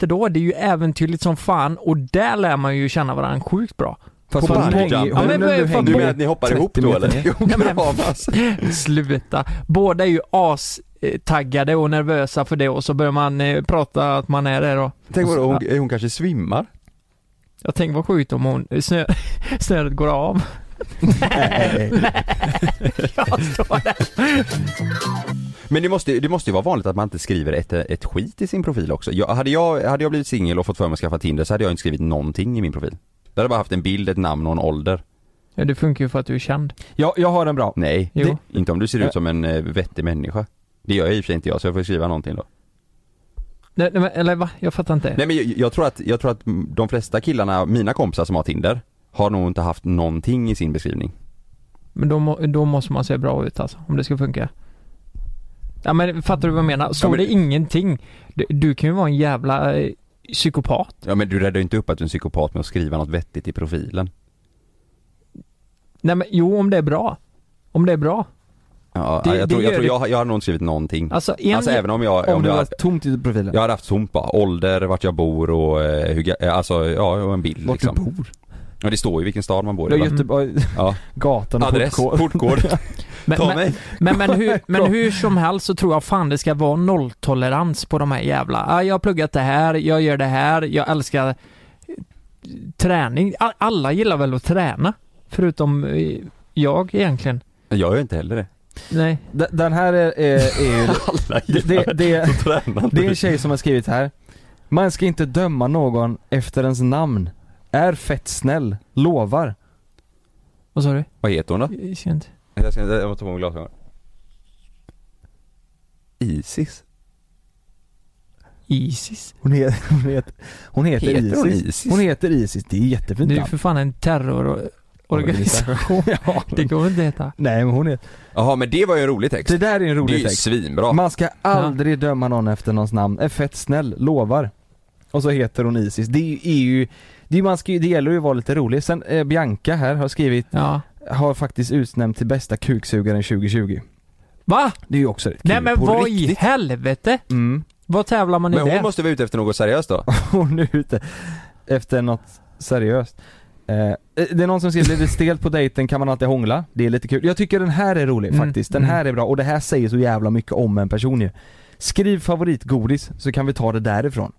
Speaker 1: då? Det är ju äventyrligt som fan och där lär man ju känna varandra sjukt bra.
Speaker 2: Fast
Speaker 4: På
Speaker 2: på
Speaker 4: bungee
Speaker 2: Pong,
Speaker 4: jump.
Speaker 1: Ja, men vad är-
Speaker 2: hänger-
Speaker 4: Du menar att ni hoppar
Speaker 2: 30
Speaker 4: ihop då
Speaker 2: meter
Speaker 4: eller? [laughs]
Speaker 2: ner.
Speaker 1: Nej, men-
Speaker 4: av oss.
Speaker 1: [laughs] Sluta. Båda är ju astaggade och nervösa för det och så börjar man eh, prata att man är det då.
Speaker 4: Tänk vad hon,
Speaker 2: Alltså,
Speaker 4: hon kanske svimmar?
Speaker 1: Jag tänker vad sjukt om hon, snö, [laughs] snöret går av.
Speaker 2: Nej.
Speaker 1: Jag står där.
Speaker 4: Men det måste, ju- det måste ju vara vanligt att man inte skriver ett, ett skit i sin profil också. Jag, hade, jag, hade jag blivit singel och fått för mig att skaffa Tinder så hade jag inte skrivit någonting i min profil. Jag hade bara haft en bild, ett namn och en ålder.
Speaker 1: Ja, det funkar ju för att du är känd.
Speaker 2: Ja, jag har en bra.
Speaker 4: Nej,
Speaker 1: Jo.
Speaker 4: inte om du ser ut som en eh, vettig människa. Det gör jag i och för sig inte jag så jag får skriva någonting då.
Speaker 1: Nej, nej, men, eller va? Jag fattar inte.
Speaker 4: Nej men jag, jag, tror att, jag tror att mm, de flesta killarna, mina kompisar som har Tinder, har nog inte haft någonting i sin beskrivning.
Speaker 1: Men då, må- då måste man se bra ut alltså, om det ska funka. Ja men fattar du vad jag menar? Står
Speaker 4: Ja, men-
Speaker 1: det ingenting, du, du kan ju vara en jävla eh, psykopat.
Speaker 4: Ja men du räddar ju inte upp att du är en psykopat med att skriva något vettigt i profilen.
Speaker 1: Nej men jo, om det är bra. Om det är bra.
Speaker 4: Ja,
Speaker 1: Det-
Speaker 4: jag, tror,
Speaker 1: det gör
Speaker 4: jag, tror
Speaker 1: det-
Speaker 4: jag, jag hade nog inte skrivit någonting. Alltså,
Speaker 1: Alltså, en,
Speaker 4: även om jag,
Speaker 2: Om
Speaker 4: om
Speaker 2: du
Speaker 4: jag,
Speaker 2: har tomt i profilen.
Speaker 4: jag hade haft sånt bara, ålder, vart jag bor och eh, hur, ga- eh, alltså ja, och en bild
Speaker 2: Vart
Speaker 4: liksom.
Speaker 2: du bor?
Speaker 4: Ja det står ju vilken stad man bor
Speaker 2: Det är
Speaker 4: i. va?
Speaker 1: Mm.
Speaker 2: Göteborg,
Speaker 4: Ja.
Speaker 2: [laughs] gatan och
Speaker 4: Adress,
Speaker 2: portkod.
Speaker 4: portkod.
Speaker 1: men,
Speaker 4: Ta
Speaker 1: men,
Speaker 4: mig.
Speaker 1: men, men, hur, men hur som helst så tror jag fan det ska vara nolltolerans på de här jävla, ah, jag har pluggat det här, jag gör det här, jag älskar eh, träning. A- Alla gillar väl att träna? Förutom eh, jag egentligen.
Speaker 4: Jag gör ju inte heller det.
Speaker 1: Nej.
Speaker 2: [laughs] D- Den här är, är, är
Speaker 4: [laughs]
Speaker 2: ju...
Speaker 4: Alla
Speaker 2: Det, [laughs] det,
Speaker 4: [laughs]
Speaker 2: det,
Speaker 4: tränar
Speaker 2: det är en tjej som har skrivit här. Man ska inte döma någon efter ens namn. Är fett snäll. Lovar.
Speaker 1: Vad sa du?
Speaker 4: Vad heter hon då?
Speaker 1: Jag ser inte.
Speaker 4: Jag, ska, jag måste ta på mig glasögonen. Isis?
Speaker 1: Isis?
Speaker 2: Hon, he, [laughs] hon, heter, hon heter
Speaker 4: Heter
Speaker 2: Isis.
Speaker 4: hon Isis?
Speaker 2: Hon heter Isis. Det är jättefint
Speaker 1: Det är ju
Speaker 2: namn.
Speaker 1: för fan en terrororganisation.
Speaker 2: [laughs] ja.
Speaker 1: [laughs] Det går inte heta.
Speaker 2: Nej men hon heter...
Speaker 4: Jaha men det var ju en rolig text.
Speaker 2: Det där är en
Speaker 4: det är
Speaker 2: rolig
Speaker 4: ju
Speaker 2: text.
Speaker 4: svinbra.
Speaker 2: Man ska aldrig döma någon efter någons namn. Är fett snäll. Lovar. Och så heter hon Isis. Det är ju... Är ju det, är, man ska, ju- det gäller ju att vara lite rolig. Sen eh, Bianca här har skrivit,
Speaker 1: Ja.
Speaker 2: har faktiskt utnämnt till bästa kuksugaren 2020.
Speaker 1: Va?
Speaker 2: Det är ju också rätt kul.
Speaker 1: Nej men
Speaker 2: På
Speaker 1: vad
Speaker 2: riktigt.
Speaker 1: i helvete?
Speaker 2: Mm. [laughs]
Speaker 1: Vad tävlar man i
Speaker 4: men
Speaker 1: det?
Speaker 4: hon måste vara ute efter något seriöst då?
Speaker 2: hon är ute efter något seriöst. Eh, det är någon som skriver lite stelt på dejten kan man alltid hångla. Det är lite kul. Jag tycker den här är rolig
Speaker 1: Mm,
Speaker 2: faktiskt. Den
Speaker 1: mm.
Speaker 2: här är bra och det här säger så jävla mycket om en person ju. Skriv favoritgodis så kan vi ta det därifrån.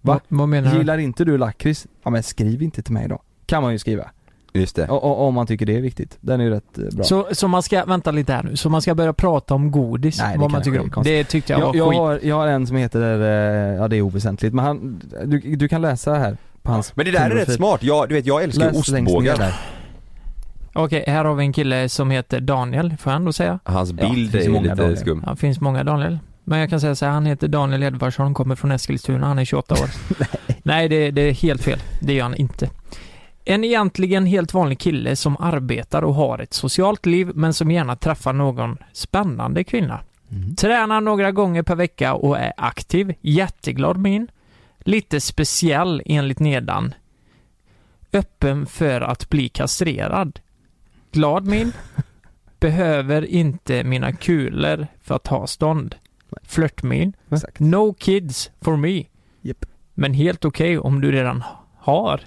Speaker 2: Va?
Speaker 1: Vad- Vad menar du?
Speaker 2: Gillar inte du lakrits? Ja men skriv inte till mig då. Kan man ju skriva.
Speaker 4: Just det.
Speaker 2: O- o- om man tycker det är viktigt. Den är ju rätt eh, bra.
Speaker 1: Så, så man ska, vänta lite här nu, så man ska börja prata om godis,
Speaker 2: Nej, det
Speaker 1: vad
Speaker 2: kan
Speaker 1: man
Speaker 2: jag
Speaker 1: tycker
Speaker 2: skit-
Speaker 1: om?
Speaker 2: konstigt.
Speaker 1: Det tyckte jag var
Speaker 2: jag, jag,
Speaker 1: skit.
Speaker 2: har, jag har en som heter, eh, ja det är oväsentligt men han, du, du kan läsa här på hans
Speaker 4: Men det där är rätt
Speaker 2: Tinderprofil.
Speaker 4: smart. Jag, du vet jag älskar ju
Speaker 2: Läs längst ner
Speaker 4: ostbågar.
Speaker 2: där.
Speaker 4: [laughs]
Speaker 1: Okej, här har vi en kille som heter Daniel, får jag ändå säga?
Speaker 4: Hans
Speaker 2: Ja,
Speaker 4: bild
Speaker 2: det finns
Speaker 4: är
Speaker 2: många
Speaker 4: lite
Speaker 2: dagar.
Speaker 4: skum.
Speaker 1: Ja, det finns många Daniel. Men jag kan säga så här, han heter Daniel Edvardsson, kommer från Eskilstuna, han är 28 år. Nej, det, det är helt fel. Det gör han inte. En egentligen helt vanlig kille som arbetar och har ett socialt liv, men som gärna träffar någon spännande kvinna. Tränar några gånger per vecka och är aktiv. Jätteglad min. Lite speciell enligt nedan. Öppen för att bli kastrerad. Glad min. Behöver inte mina kulor för att ha stånd. Flörtmin.
Speaker 2: Exakt.
Speaker 1: No kids for me.
Speaker 2: Japp.
Speaker 1: Men helt okej om du redan har.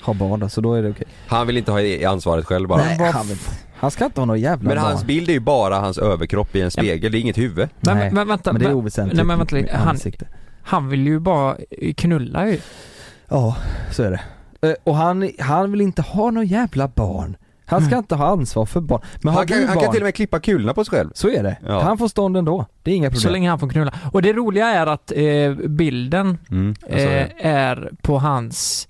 Speaker 2: Har barn då, så då är det okej.
Speaker 4: Han vill inte ha i- ansvaret själv bara.
Speaker 2: Nej, han, vill, han ska inte ha några jävla
Speaker 4: Men
Speaker 2: barn.
Speaker 4: hans bild är ju bara hans överkropp i en spegel, det är inget huvud.
Speaker 1: Men,
Speaker 2: Nej,
Speaker 1: men vänta,
Speaker 2: men det är
Speaker 1: vä-
Speaker 2: oväsentligt.
Speaker 1: Nej, men vänta lite.
Speaker 2: med
Speaker 1: Han-
Speaker 2: ansikte.
Speaker 1: han vill ju bara eh, knulla ju.
Speaker 2: Ja, så är det. Eh, Och han, han vill inte ha några jävla barn. Han
Speaker 1: Mm.
Speaker 2: ska inte ha ansvar för barn. Men har
Speaker 4: Han kan,
Speaker 2: du
Speaker 4: han
Speaker 2: barn,
Speaker 4: kan till och med klippa kulorna på sig själv.
Speaker 2: så är det.
Speaker 4: Ja.
Speaker 2: Han får stånd ändå. Det är inga problem.
Speaker 1: Så länge han får knulla. Och det roliga är att eh, bilden
Speaker 2: Mm.
Speaker 1: eh, är på hans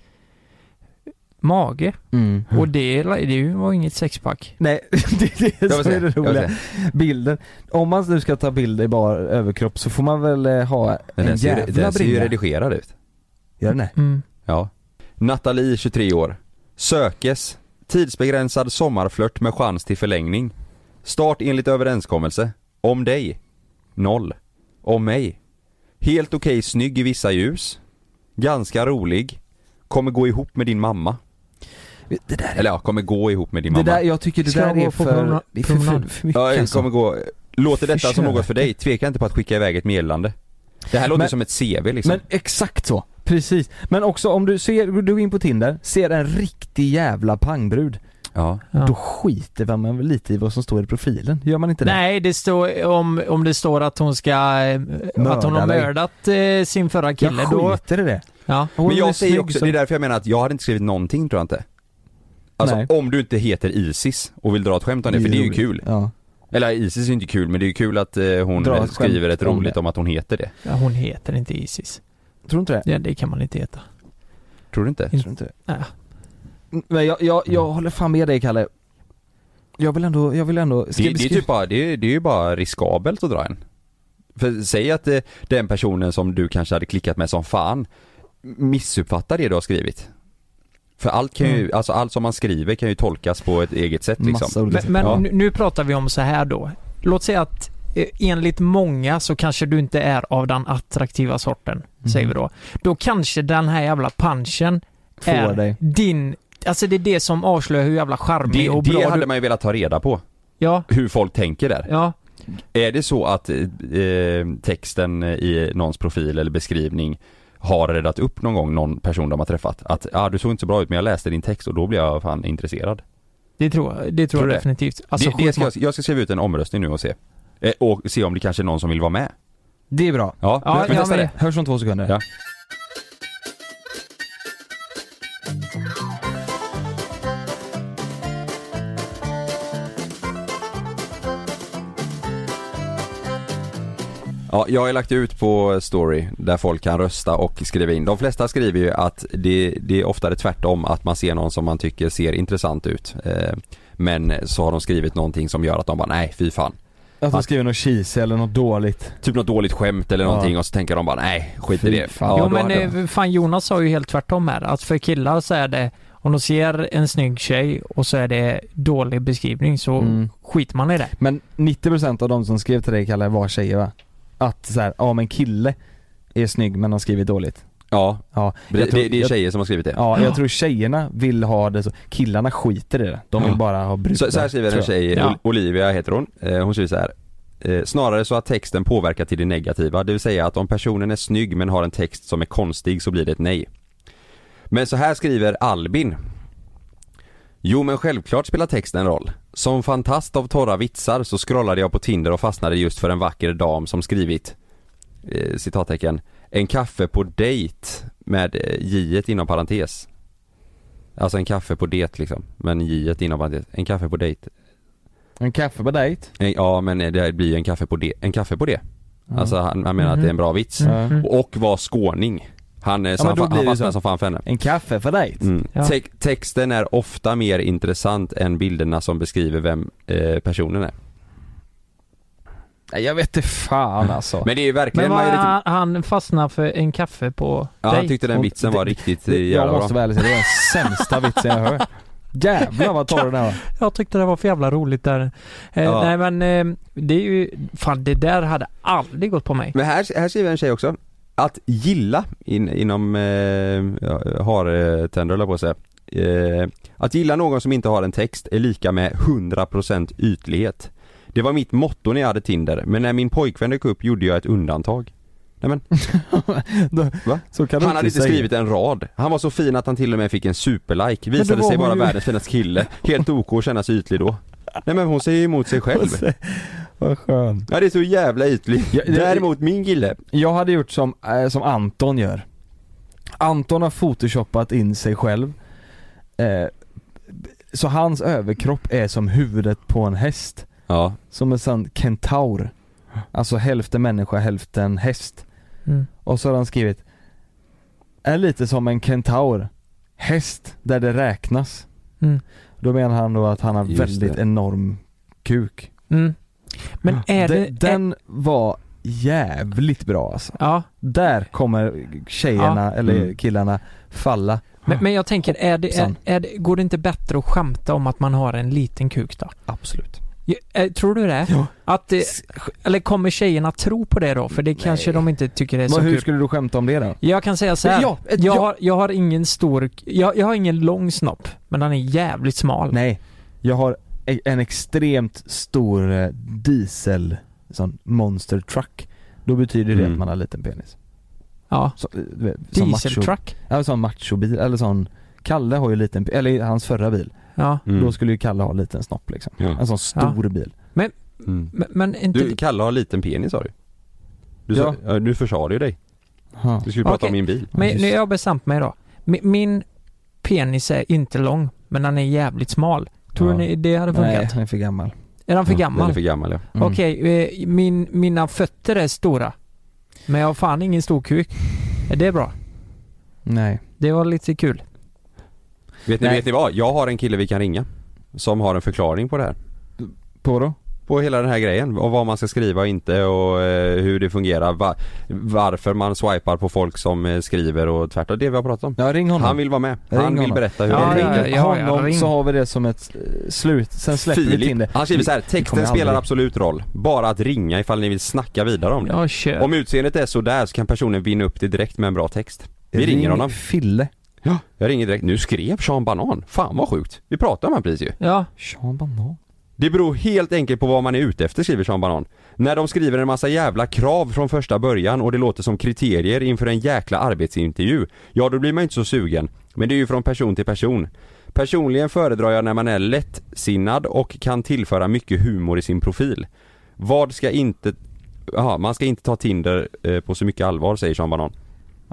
Speaker 1: mage.
Speaker 2: Mm.
Speaker 1: Och det, det ju- var inget sexpack.
Speaker 2: Nej, [laughs] det, det är
Speaker 4: Jag vill
Speaker 2: så
Speaker 4: se,
Speaker 2: är det
Speaker 4: jag vill
Speaker 2: roliga. Bilden. Om man nu ska ta bilder i bara överkropp så får man väl eh, ha
Speaker 4: Men
Speaker 2: en
Speaker 4: den ser, ju-
Speaker 2: jävla
Speaker 4: den ser ju
Speaker 2: brynja.
Speaker 4: redigerad ut.
Speaker 2: Gör den det?
Speaker 1: Mm.
Speaker 4: Ja. Nathalie, 23 år. Sökes. Tidsbegränsad sommarflört med chans till förlängning. Start enligt överenskommelse. Om dig. Noll. Om mig. Helt okej snygg i vissa ljus. Ganska rolig. Kommer gå ihop med din mamma.
Speaker 2: Det där är...
Speaker 4: Eller ja, kommer gå ihop med din
Speaker 2: Det
Speaker 4: mamma.
Speaker 2: där, jag tycker det
Speaker 1: Ska
Speaker 2: där
Speaker 1: jag gå
Speaker 2: är
Speaker 1: på
Speaker 2: för...
Speaker 1: promena-
Speaker 2: Det är för, för,
Speaker 1: promenad?
Speaker 2: för mycket
Speaker 4: ja,
Speaker 2: alltså.
Speaker 4: kommer gå. Låter detta som
Speaker 2: Försök.
Speaker 4: något för dig? Tveka inte på att skicka iväg ett meddelande. Det här låter
Speaker 2: Men-
Speaker 4: som ett CV liksom.
Speaker 2: Men exakt så! Precis, men också om du ser, du går in på Tinder, ser en riktig jävla pangbrud
Speaker 4: Ja.
Speaker 1: Ja.
Speaker 2: Då skiter man väl lite i vad som står i profilen, gör man inte det?
Speaker 1: Nej, det står, om, om det står att hon ska, eh, att hon har
Speaker 2: dig.
Speaker 1: mördat eh, sin förra kille
Speaker 2: jag
Speaker 1: då.
Speaker 2: skiter i det.
Speaker 1: Ja.
Speaker 2: Hon
Speaker 4: Men
Speaker 2: är
Speaker 4: jag säger
Speaker 2: snygg
Speaker 4: också,
Speaker 2: som-
Speaker 4: det är därför jag menar att jag hade inte skrivit någonting tror jag inte. Alltså
Speaker 2: Nej.
Speaker 4: om du inte heter Isis och vill dra ett skämt om det, för det är ju
Speaker 2: roligt.
Speaker 4: kul.
Speaker 2: Ja.
Speaker 4: Eller Isis är inte kul men det är ju kul att eh, hon
Speaker 2: Dra ett
Speaker 4: eh,
Speaker 2: skämt
Speaker 4: skriver ett
Speaker 2: om
Speaker 4: roligt
Speaker 2: det.
Speaker 4: om att hon heter det.
Speaker 1: Ja, Hon heter inte Isis.
Speaker 2: Tror du inte det?
Speaker 1: Ja, det kan man inte heta.
Speaker 4: Tror du inte?
Speaker 2: Jag tror inte det. Mm,
Speaker 1: Nej.
Speaker 2: Men jag, jag, jag håller fan med dig Kalle. Jag vill ändå, jag vill ändå...
Speaker 4: Det,
Speaker 2: skriv-
Speaker 4: det, är
Speaker 2: skriv-
Speaker 4: typ bara, det, är, det är ju bara riskabelt att dra en. För säg att eh, den personen som du kanske hade klickat med som fan missuppfattar det du har skrivit. För allt kan ju, alltså allt som man skriver kan ju tolkas på ett eget sätt liksom.
Speaker 2: Mm. Massa olika
Speaker 1: Men, men
Speaker 2: ja.
Speaker 1: nu, nu pratar vi om så här då. Låt säga att eh, enligt många så kanske du inte är av den attraktiva sorten,
Speaker 4: Mm.
Speaker 1: säger vi då. Då kanske den här jävla punchen
Speaker 2: Får
Speaker 1: är
Speaker 2: dig.
Speaker 1: din, alltså det är det som avslöjar hur jävla charmig
Speaker 4: Det,
Speaker 1: och
Speaker 4: det
Speaker 1: bra
Speaker 4: hade
Speaker 1: du...
Speaker 4: man ju velat ta reda på,
Speaker 1: Ja,
Speaker 4: hur folk tänker där.
Speaker 1: ja.
Speaker 4: Är det så att eh, texten i någons profil eller beskrivning har räddat upp någon gång någon person de har träffat? Att ah, du såg inte så bra ut men jag läste din text och då blev jag fan intresserad.
Speaker 1: Det tror jag, det tror
Speaker 4: Tror du
Speaker 1: jag
Speaker 4: det?
Speaker 1: definitivt. Alltså,
Speaker 4: det, det ska
Speaker 1: skitma-
Speaker 4: jag, jag ska skriva ut en omröstning nu och se. Eh, och se om det kanske är någon som vill vara med.
Speaker 2: Det är bra.
Speaker 4: Ja,
Speaker 1: Ja,
Speaker 4: vi
Speaker 1: jag
Speaker 4: testar
Speaker 1: med.
Speaker 4: det.
Speaker 2: Hörs om två sekunder.
Speaker 4: Ja. Ja, jag har ju lagt ut på story där folk kan rösta och skriva in. De flesta skriver ju att det, det är oftare tvärtom att man ser någon som man tycker ser intressant ut. Eh, men så har de skrivit någonting som gör att de bara nej fy fan.
Speaker 2: Att de skriver något cheesy eller något dåligt.
Speaker 4: Typ något dåligt skämt eller
Speaker 2: Ja.
Speaker 4: någonting och så tänker de bara nej skit
Speaker 2: Fy
Speaker 4: i det.
Speaker 2: fan.
Speaker 4: Ja,
Speaker 1: jo
Speaker 4: då
Speaker 1: men
Speaker 4: hade de-
Speaker 1: eh, fan Jonas sa ju helt tvärtom här. Att för killar så är det, om de ser en snygg tjej och så är det dålig beskrivning så
Speaker 2: Mm.
Speaker 1: skiter man i det.
Speaker 2: Men 90% av de som skrev till dig Kalle var tjejer va? Att så här, ja men kille är snygg men har skrivit dåligt.
Speaker 4: ja,
Speaker 2: Ja,
Speaker 4: det,
Speaker 2: jag tror-
Speaker 4: det, det är
Speaker 2: jag-
Speaker 4: tjejer som har skrivit det.
Speaker 2: Ja,
Speaker 1: Ja.
Speaker 2: jag tror tjejerna vill ha det så. Killarna skiter i det. De vill
Speaker 4: Ja.
Speaker 2: bara ha brudar.
Speaker 4: Så, så här skriver
Speaker 2: tror jag.
Speaker 4: en tjej,
Speaker 1: Ja.
Speaker 4: Ol- Olivia heter hon. Eh, Hon skriver så här. eh, Snarare så att texten påverkar till det negativa, det vill säga att om personen är snygg men har en text som är konstig så blir det ett nej. Men så här skriver Albin. Jo men självklart spelar texten roll. Som fantast av torra vitsar så scrollade jag på Tinder och fastnade just för en vacker dam som skrivit eh, citattecken En kaffe på dejt med eh, j inom parentes. Alltså en kaffe på det liksom, men j inom parentes. En kaffe på dejt.
Speaker 2: En kaffe på dejt.
Speaker 4: En- Ja men eh, det blir ju en kaffe på det, en kaffe på det. Alltså han, han menar att det är en bra vits.
Speaker 2: Mm.
Speaker 4: Och var skåning. Han, eh, så
Speaker 2: men
Speaker 4: han,
Speaker 2: då
Speaker 4: fa-
Speaker 2: blir
Speaker 4: han
Speaker 2: det
Speaker 4: fastnade
Speaker 2: så.
Speaker 4: som fan för henne.
Speaker 2: En kaffe för dig?
Speaker 4: Mm.
Speaker 1: Ja.
Speaker 4: Te- texten är ofta mer intressant än bilderna som beskriver vem eh, personen är.
Speaker 2: Nej jag vet inte fan alltså.
Speaker 4: Men det är ju verkligen
Speaker 1: Men vad,
Speaker 4: majoritet.
Speaker 1: han, han fastnar för en kaffe på
Speaker 4: Ja,
Speaker 1: dig.
Speaker 4: han tyckte den
Speaker 2: Och
Speaker 4: vitsen
Speaker 2: det-
Speaker 4: var riktigt
Speaker 2: Det-
Speaker 4: det,
Speaker 2: jag
Speaker 4: jävla
Speaker 2: måste
Speaker 4: bra.
Speaker 2: vara ärlig, det är den
Speaker 4: [laughs]
Speaker 2: sämsta vitsen jag hört. Jävlar vad torr den här var.
Speaker 1: Jag tyckte det var för jävla roligt där. Eh,
Speaker 4: Ja.
Speaker 1: Nej men eh, det är ju, fan det där hade aldrig gått på mig.
Speaker 4: Men här, här skriver en tjej också. Att gilla in, inom eh, ja, har-tänder höll jag på att säga. Eh, att gilla någon som inte har en text är lika med 100% ytlighet. Det var mitt motto när jag hade Tinder, men när min pojkvän dök upp gjorde jag ett undantag. Nej men, va?
Speaker 2: Så kan du
Speaker 4: Han hade inte
Speaker 2: säga.
Speaker 4: skrivit en rad. Han var så fin att han till och med fick en superlike.
Speaker 2: det
Speaker 4: Visade
Speaker 2: var
Speaker 4: sig
Speaker 2: hon
Speaker 4: vara
Speaker 2: ju.
Speaker 4: världens finaste kille. Helt OK att känna sig ytlig då. Nej men hon säger ju emot sig själv.
Speaker 2: Vad skön.
Speaker 4: Ja det är så jävla ytligt.
Speaker 2: Ja, det-
Speaker 4: Däremot min kille,
Speaker 2: Jag hade gjort som, eh, som Anton gör. Anton har photoshoppat in sig själv. Eh, så hans överkropp är som huvudet på en häst.
Speaker 4: ja
Speaker 2: Som en sån kentaur. Alltså hälften människa, hälften häst.
Speaker 1: Mm.
Speaker 2: Och så har han skrivit Är lite som en kentaur Häst där det räknas
Speaker 1: Mm.
Speaker 2: Då menar han då att han har
Speaker 4: Just
Speaker 2: väldigt
Speaker 4: det.
Speaker 2: enorm kuk
Speaker 1: Mm. Men är
Speaker 2: Den,
Speaker 1: det... Är,
Speaker 2: den var jävligt bra alltså
Speaker 1: ja.
Speaker 2: Där kommer tjejerna eller
Speaker 4: Mm.
Speaker 2: killarna falla
Speaker 1: Men, men jag tänker, är det, är,
Speaker 2: Hoppsan.
Speaker 1: är det, går det inte bättre att skämta om att man har en liten kuk då?
Speaker 2: Absolut
Speaker 1: Ja, eh, Tror du det?
Speaker 2: Ja.
Speaker 1: Att, eh, eller kommer tjejerna tro på det då? För det kanske de inte tycker det är så
Speaker 2: Men hur
Speaker 1: kul.
Speaker 2: skulle du skämta om det då?
Speaker 1: Jag kan säga så här.
Speaker 2: Ja, ett
Speaker 1: jag,
Speaker 2: ja.
Speaker 1: har, jag har ingen stor, jag, jag har ingen lång snopp, men den är jävligt smal.
Speaker 2: Nej, jag har e- en extremt stor eh, diesel sån monster truck Då betyder det
Speaker 4: Mm.
Speaker 2: att man har liten penis
Speaker 1: Ja.
Speaker 2: Så, eh, du vet, sån macho,
Speaker 1: Dieseltruck.
Speaker 2: ja, sån machobil, eller sån Kalle har ju liten, eller hans förra bil,
Speaker 1: Ja.
Speaker 4: Mm.
Speaker 2: då skulle ju Kalle ha en liten snopp liksom.
Speaker 4: Ja.
Speaker 2: En sån stor bil.
Speaker 4: Mm.
Speaker 1: Men, men inte...
Speaker 4: Du, Kalle har liten penis sa du. Du, sa, ja. du försade ju dig.
Speaker 2: Ja.
Speaker 4: Du skulle prata
Speaker 1: Okej.
Speaker 4: om min bil.
Speaker 1: men
Speaker 2: just.
Speaker 1: nu har jag bestämt mig då. Mi- min penis är inte lång, men den är jävligt smal. Tror
Speaker 2: Ja.
Speaker 1: ni det hade
Speaker 2: Nej,
Speaker 1: funkat?
Speaker 2: han är för gammal.
Speaker 1: Är den för
Speaker 4: Ja, Den
Speaker 1: gammal?
Speaker 4: är för gammal ja.
Speaker 2: Mm.
Speaker 1: Okej, eh, min, mina fötter är stora. Men jag har fan ingen stor kuk. Är det bra?
Speaker 2: Mm. Nej.
Speaker 1: Det var lite kul.
Speaker 4: Vet ni,
Speaker 2: Nej.
Speaker 4: vet ni vad? Jag har en kille vi kan ringa. Som har en förklaring på det här.
Speaker 2: På vadå?
Speaker 4: På hela den här grejen. Och vad man ska skriva och inte och eh, hur det fungerar. Va, varför man swipar på folk som eh, skriver och tvärtom. Det vi har pratat om.
Speaker 2: Ja, ring honom.
Speaker 4: Han vill vara med.
Speaker 2: Ring
Speaker 4: Han vill
Speaker 2: honom.
Speaker 4: berätta hur
Speaker 1: Ja,
Speaker 4: han
Speaker 1: ja,
Speaker 4: tänker.
Speaker 1: ja, ja,
Speaker 2: honom
Speaker 1: ring.
Speaker 2: så har vi det som ett eh, slut, sen släpper vi Tinder.
Speaker 4: Filip, han skriver så här.
Speaker 2: Vi kommer
Speaker 4: Texten spelar
Speaker 2: aldrig-
Speaker 4: absolut roll. Bara att ringa ifall ni vill snacka vidare om det.
Speaker 1: Jag kör.
Speaker 4: Om utseendet är sådär så kan personen vinna upp det direkt med en bra text. Vi ringer
Speaker 2: Ring
Speaker 4: honom.
Speaker 2: Fille.
Speaker 4: Ja. Jag ringer direkt. Nu skrev Sean Banan. Fan vad sjukt. Vi pratade om han precis ju.
Speaker 1: Ja,
Speaker 2: Sean Banan.
Speaker 4: Det beror helt enkelt på vad man är ute efter skriver Sean Banan. När de skriver en massa jävla krav från första början och det låter som kriterier inför en jäkla arbetsintervju. Ja, då blir man ju inte så sugen. Men det är ju från person till person. Personligen föredrar jag när man är lättsinnad och kan tillföra mycket humor i sin profil. Vad ska inte... Jaha, man ska inte ta Tinder eh, på så mycket allvar säger Sean Banan.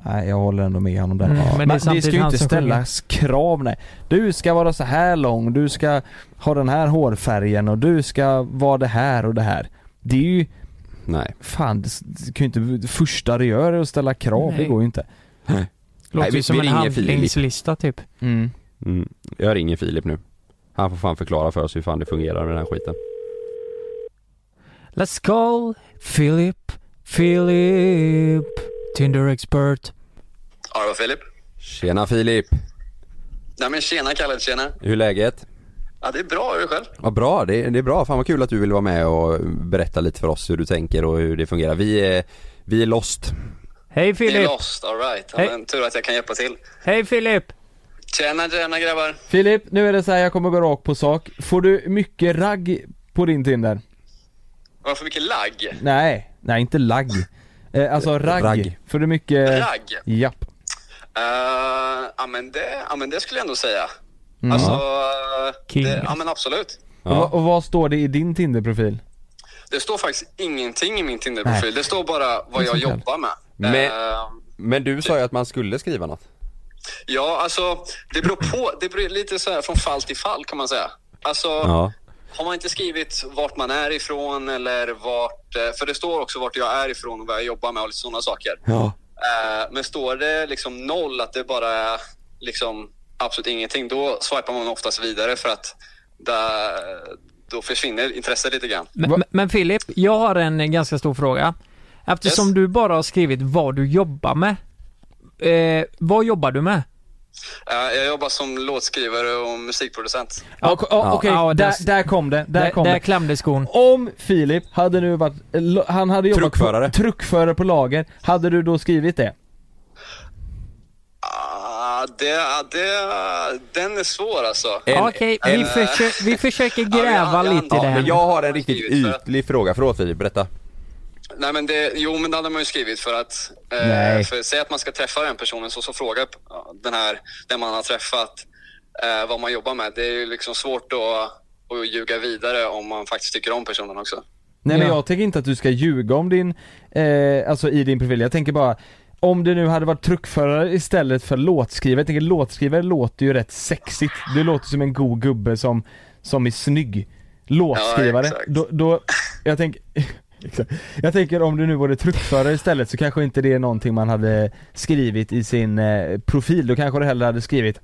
Speaker 2: Nej, jag håller ändå med honom där.
Speaker 1: Mm, men det är
Speaker 2: men det
Speaker 1: samtidigt
Speaker 2: ska ju
Speaker 1: han
Speaker 2: inte
Speaker 1: som
Speaker 2: ställas krav nej. Du ska vara så här lång, du ska ha den här hårfärgen och du ska vara det här och det här. Det är ju,
Speaker 4: Nej.
Speaker 2: fan det s- det kan ju inte, det första du gör är att ställa krav,
Speaker 1: Nej.
Speaker 2: det går ju inte.
Speaker 1: låter
Speaker 4: vi-
Speaker 1: ju som
Speaker 4: vi
Speaker 1: en
Speaker 4: ringer Filip.
Speaker 1: handlingslista typ.
Speaker 2: Mm.
Speaker 4: Mm. Jag ringer Filip nu. Han får fan förklara för oss hur fan det fungerar med den här skiten.
Speaker 1: Let's call Philip, Philip, Tinder expert.
Speaker 7: Ja, det var Filip.
Speaker 4: Tjena Filip!
Speaker 7: Nej men tjena Kalle, tjena.
Speaker 4: Hur är läget?
Speaker 7: Ja, det är bra. Hur är det själv?
Speaker 4: Vad bra, det, det är bra. Fan vad kul att du vill vara med och berätta lite för oss hur du tänker och hur det fungerar. Vi är, vi är lost.
Speaker 1: Hej
Speaker 7: Det är
Speaker 1: Philip!
Speaker 7: lost, alright. Ja,
Speaker 1: Hej.
Speaker 7: men tur att jag kan hjälpa till.
Speaker 1: Hej Philip!
Speaker 7: Tjena, tjena grabbar.
Speaker 2: Filip, nu är det så här, jag kommer gå rakt på sak. Får du mycket ragg på din Tinder?
Speaker 7: Var för mycket lagg?
Speaker 2: Nej, nej inte lagg. Eh, alltså ragg.
Speaker 4: Ragg.
Speaker 2: För det är mycket...
Speaker 7: Ragg?
Speaker 2: Japp.
Speaker 7: Eh, ja, men det, ja, men det skulle jag ändå säga. Alltså, eh,
Speaker 1: King.
Speaker 7: det, ja men absolut.
Speaker 2: Och, va- och vad står det i din Tinder-profil?
Speaker 7: Det står faktiskt ingenting i min Tinder-profil. Det står bara vad jag
Speaker 2: sånt här.
Speaker 7: jobbar med.
Speaker 4: Men-
Speaker 7: Eh,
Speaker 4: Men du sa ju att man skulle skriva något.
Speaker 7: ja, alltså det beror på. Det beror lite så här från fall till fall kan man säga. Alltså,
Speaker 4: Ja.
Speaker 7: Har man inte skrivit vart man är ifrån eller vart... eh, För det står också vart jag är ifrån och vad jag jobbar med och lite sådana saker.
Speaker 4: Ja.
Speaker 7: Eh, Men står det liksom noll, att det bara är liksom absolut ingenting, då swipar man oftast vidare för att där, då försvinner intresset lite grann.
Speaker 1: Men- men- Men Filip, jag har en eh, ganska stor fråga. Eftersom
Speaker 7: Yes.
Speaker 1: du bara har skrivit vad du jobbar med. Eh, vad jobbar du med?
Speaker 7: Eh, Jag jobbar som låtskrivare och musikproducent.
Speaker 2: Ja, ok- ja, Ah, Okej,
Speaker 1: Ja, där-
Speaker 2: där, där kom det. Där,
Speaker 1: Där,
Speaker 2: kom
Speaker 1: där
Speaker 2: det.
Speaker 1: klämde skon.
Speaker 2: Om Filip hade nu varit, eh, lo- han hade jobbat
Speaker 4: Truckförare.
Speaker 2: På, truckförare på lager, hade du då skrivit det?
Speaker 7: Ah, det, ah, det, den är svår alltså.
Speaker 4: En-
Speaker 1: Okej,
Speaker 4: en-
Speaker 1: vi, försö- vi försöker
Speaker 7: Ja,
Speaker 1: gräva
Speaker 7: ja, ja,
Speaker 1: lite
Speaker 7: ja,
Speaker 1: där.
Speaker 4: Men jag har en riktigt ytlig fråga. Förlåt Filip, berätta.
Speaker 7: Nej men det, jo men det hade man ju skrivit för att, eh,
Speaker 2: Nej.
Speaker 7: för säg att man ska träffa den personen så, så frågar ja, den här, den man har träffat eh, vad man jobbar med. Det är ju liksom svårt att, att ljuga vidare om man faktiskt tycker om personen också.
Speaker 2: Nej men
Speaker 1: Ja.
Speaker 2: jag tänker inte att du ska ljuga om din, eh, alltså i din profil. Jag tänker bara, om det nu hade varit truckförare istället för låtskrivare. Jag tänker låtskrivare låter ju rätt sexigt. Du låter som en god gubbe som, som är snygg. Låtskrivare,
Speaker 7: Ja, exakt.
Speaker 2: då, då, jag tänker Exakt. [laughs] Jag tänker om du nu vore truckförare istället så kanske inte det är någonting man hade skrivit i sin eh, profil. Då kanske du hellre hade skrivit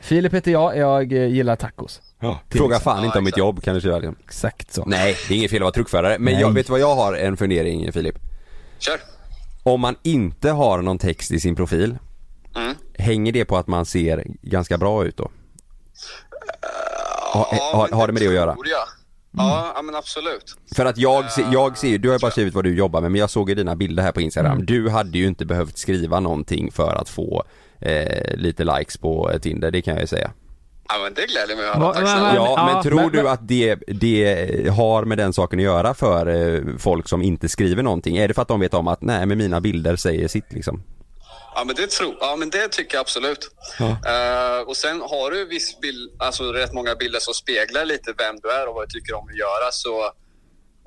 Speaker 2: Filip heter jag, jag eh, gillar tacos.
Speaker 4: Fråga fan inte om mitt
Speaker 7: exakt.
Speaker 4: jobb kan du skriva. det.
Speaker 2: Exakt så.
Speaker 4: Nej, det är inget fel att vara truckförare. Men
Speaker 2: Nej.
Speaker 4: jag vet du vad jag har en fundering Filip.
Speaker 7: Kör!
Speaker 4: Om man inte har någon text i sin profil,
Speaker 7: Mm.
Speaker 4: hänger det på att man ser ganska bra ut då? Ha-
Speaker 7: Ja,
Speaker 4: har-
Speaker 7: men
Speaker 4: har det med det att göra? Mm.
Speaker 7: tror jag. Ja, ja men absolut.
Speaker 4: För att jag, se- jag ser ju, du har ju bara skrivit vad du jobbar med men jag såg ju dina bilder här på Instagram. Du hade ju inte behövt skriva någonting för att få eh, lite likes på eh, Tinder, det kan jag ju säga.
Speaker 7: Ja, men det gläder mig att höra.
Speaker 1: Va-
Speaker 7: Tack
Speaker 1: va-
Speaker 7: snälla.
Speaker 1: va-
Speaker 4: Ja,
Speaker 1: ja,
Speaker 4: men tror
Speaker 1: men-
Speaker 4: du att det, det har med den saken att göra för eh, folk som inte skriver någonting? Är det för att de vet om att nej, men mina bilder säger sitt liksom?
Speaker 7: Ja men det tror ja, men det tycker jag absolut. Eh, och sen har du viss bild, alltså rätt många bilder som speglar lite vem du är och vad du tycker om att göra så,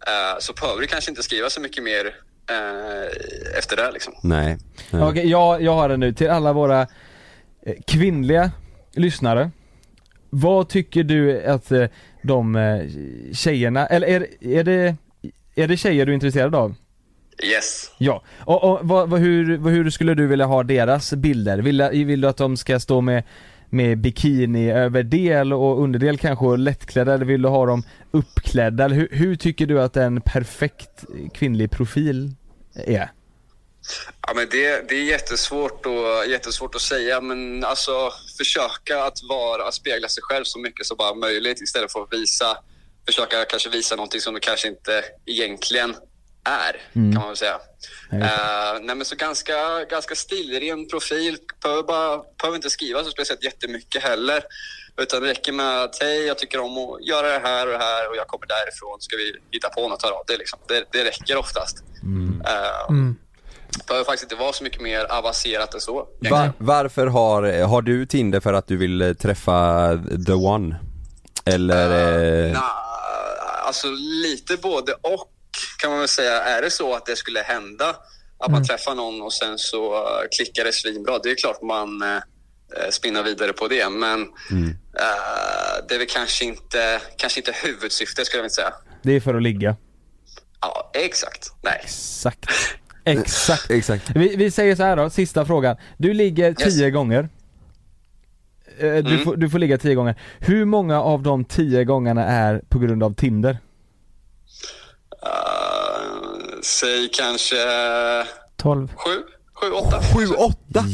Speaker 7: eh, så behöver du kanske inte skriva så mycket mer eh, efter det liksom.
Speaker 4: Nej. nej.
Speaker 2: Okej, jag, jag har den nu till alla våra eh, kvinnliga lyssnare. Vad tycker du att eh, de eh, tjejerna, eller är, är, det, är det tjejer du är intresserad av?
Speaker 7: Yes.
Speaker 2: Ja, och, och vad, vad, hur, vad, hur skulle du vilja ha deras bilder? Vill, vill du att de ska stå med, med bikini överdel och underdel kanske och lättklädda eller vill du ha dem uppklädda? Eller hur, hur tycker du att en perfekt kvinnlig profil är?
Speaker 7: Ja, men det, det är jättesvårt, och, jättesvårt att säga, men alltså, försöka att, vara, att spegla sig själv så mycket som bara möjligt istället för att visa, försöka kanske visa någonting som du kanske inte egentligen är, kan man väl säga. Eh, nej, men så ganska, ganska stilren profil, behöver, bara, behöver inte skriva så speciellt jättemycket heller. Utan det räcker med att hej, jag tycker om att göra det här och det här och jag kommer därifrån. Ska vi hitta på något av det? Liksom. Det, det räcker oftast. Eh, behöver faktiskt inte vara så mycket mer avancerat än så.
Speaker 4: Va- varför har, har du Tinder för att du vill eh, träffa the one? Eller? eh,
Speaker 7: Nja, alltså lite både och kan man väl säga. Är det så att det skulle hända att man träffar någon och sen så eh, klickar det svinbra, det är klart man eh, eh, spinner vidare på det. Men eh, det är väl kanske inte, kanske inte huvudsyftet skulle jag vilja säga.
Speaker 2: Det är för att ligga.
Speaker 7: Ja, exakt. Nej. [laughs]
Speaker 2: Exakt. Exakt.
Speaker 4: Exakt.
Speaker 2: Vi, vi säger så här då, sista frågan. Du ligger tio gånger. Eh, Du,
Speaker 7: Mm.
Speaker 2: får, du får ligga tio gånger. Hur många av de tio gångerna är på grund av Tinder?
Speaker 7: Eh, säg kanske eh,
Speaker 1: 12.
Speaker 7: sju, sju, åtta.
Speaker 4: 7, 8!
Speaker 7: jag tror det.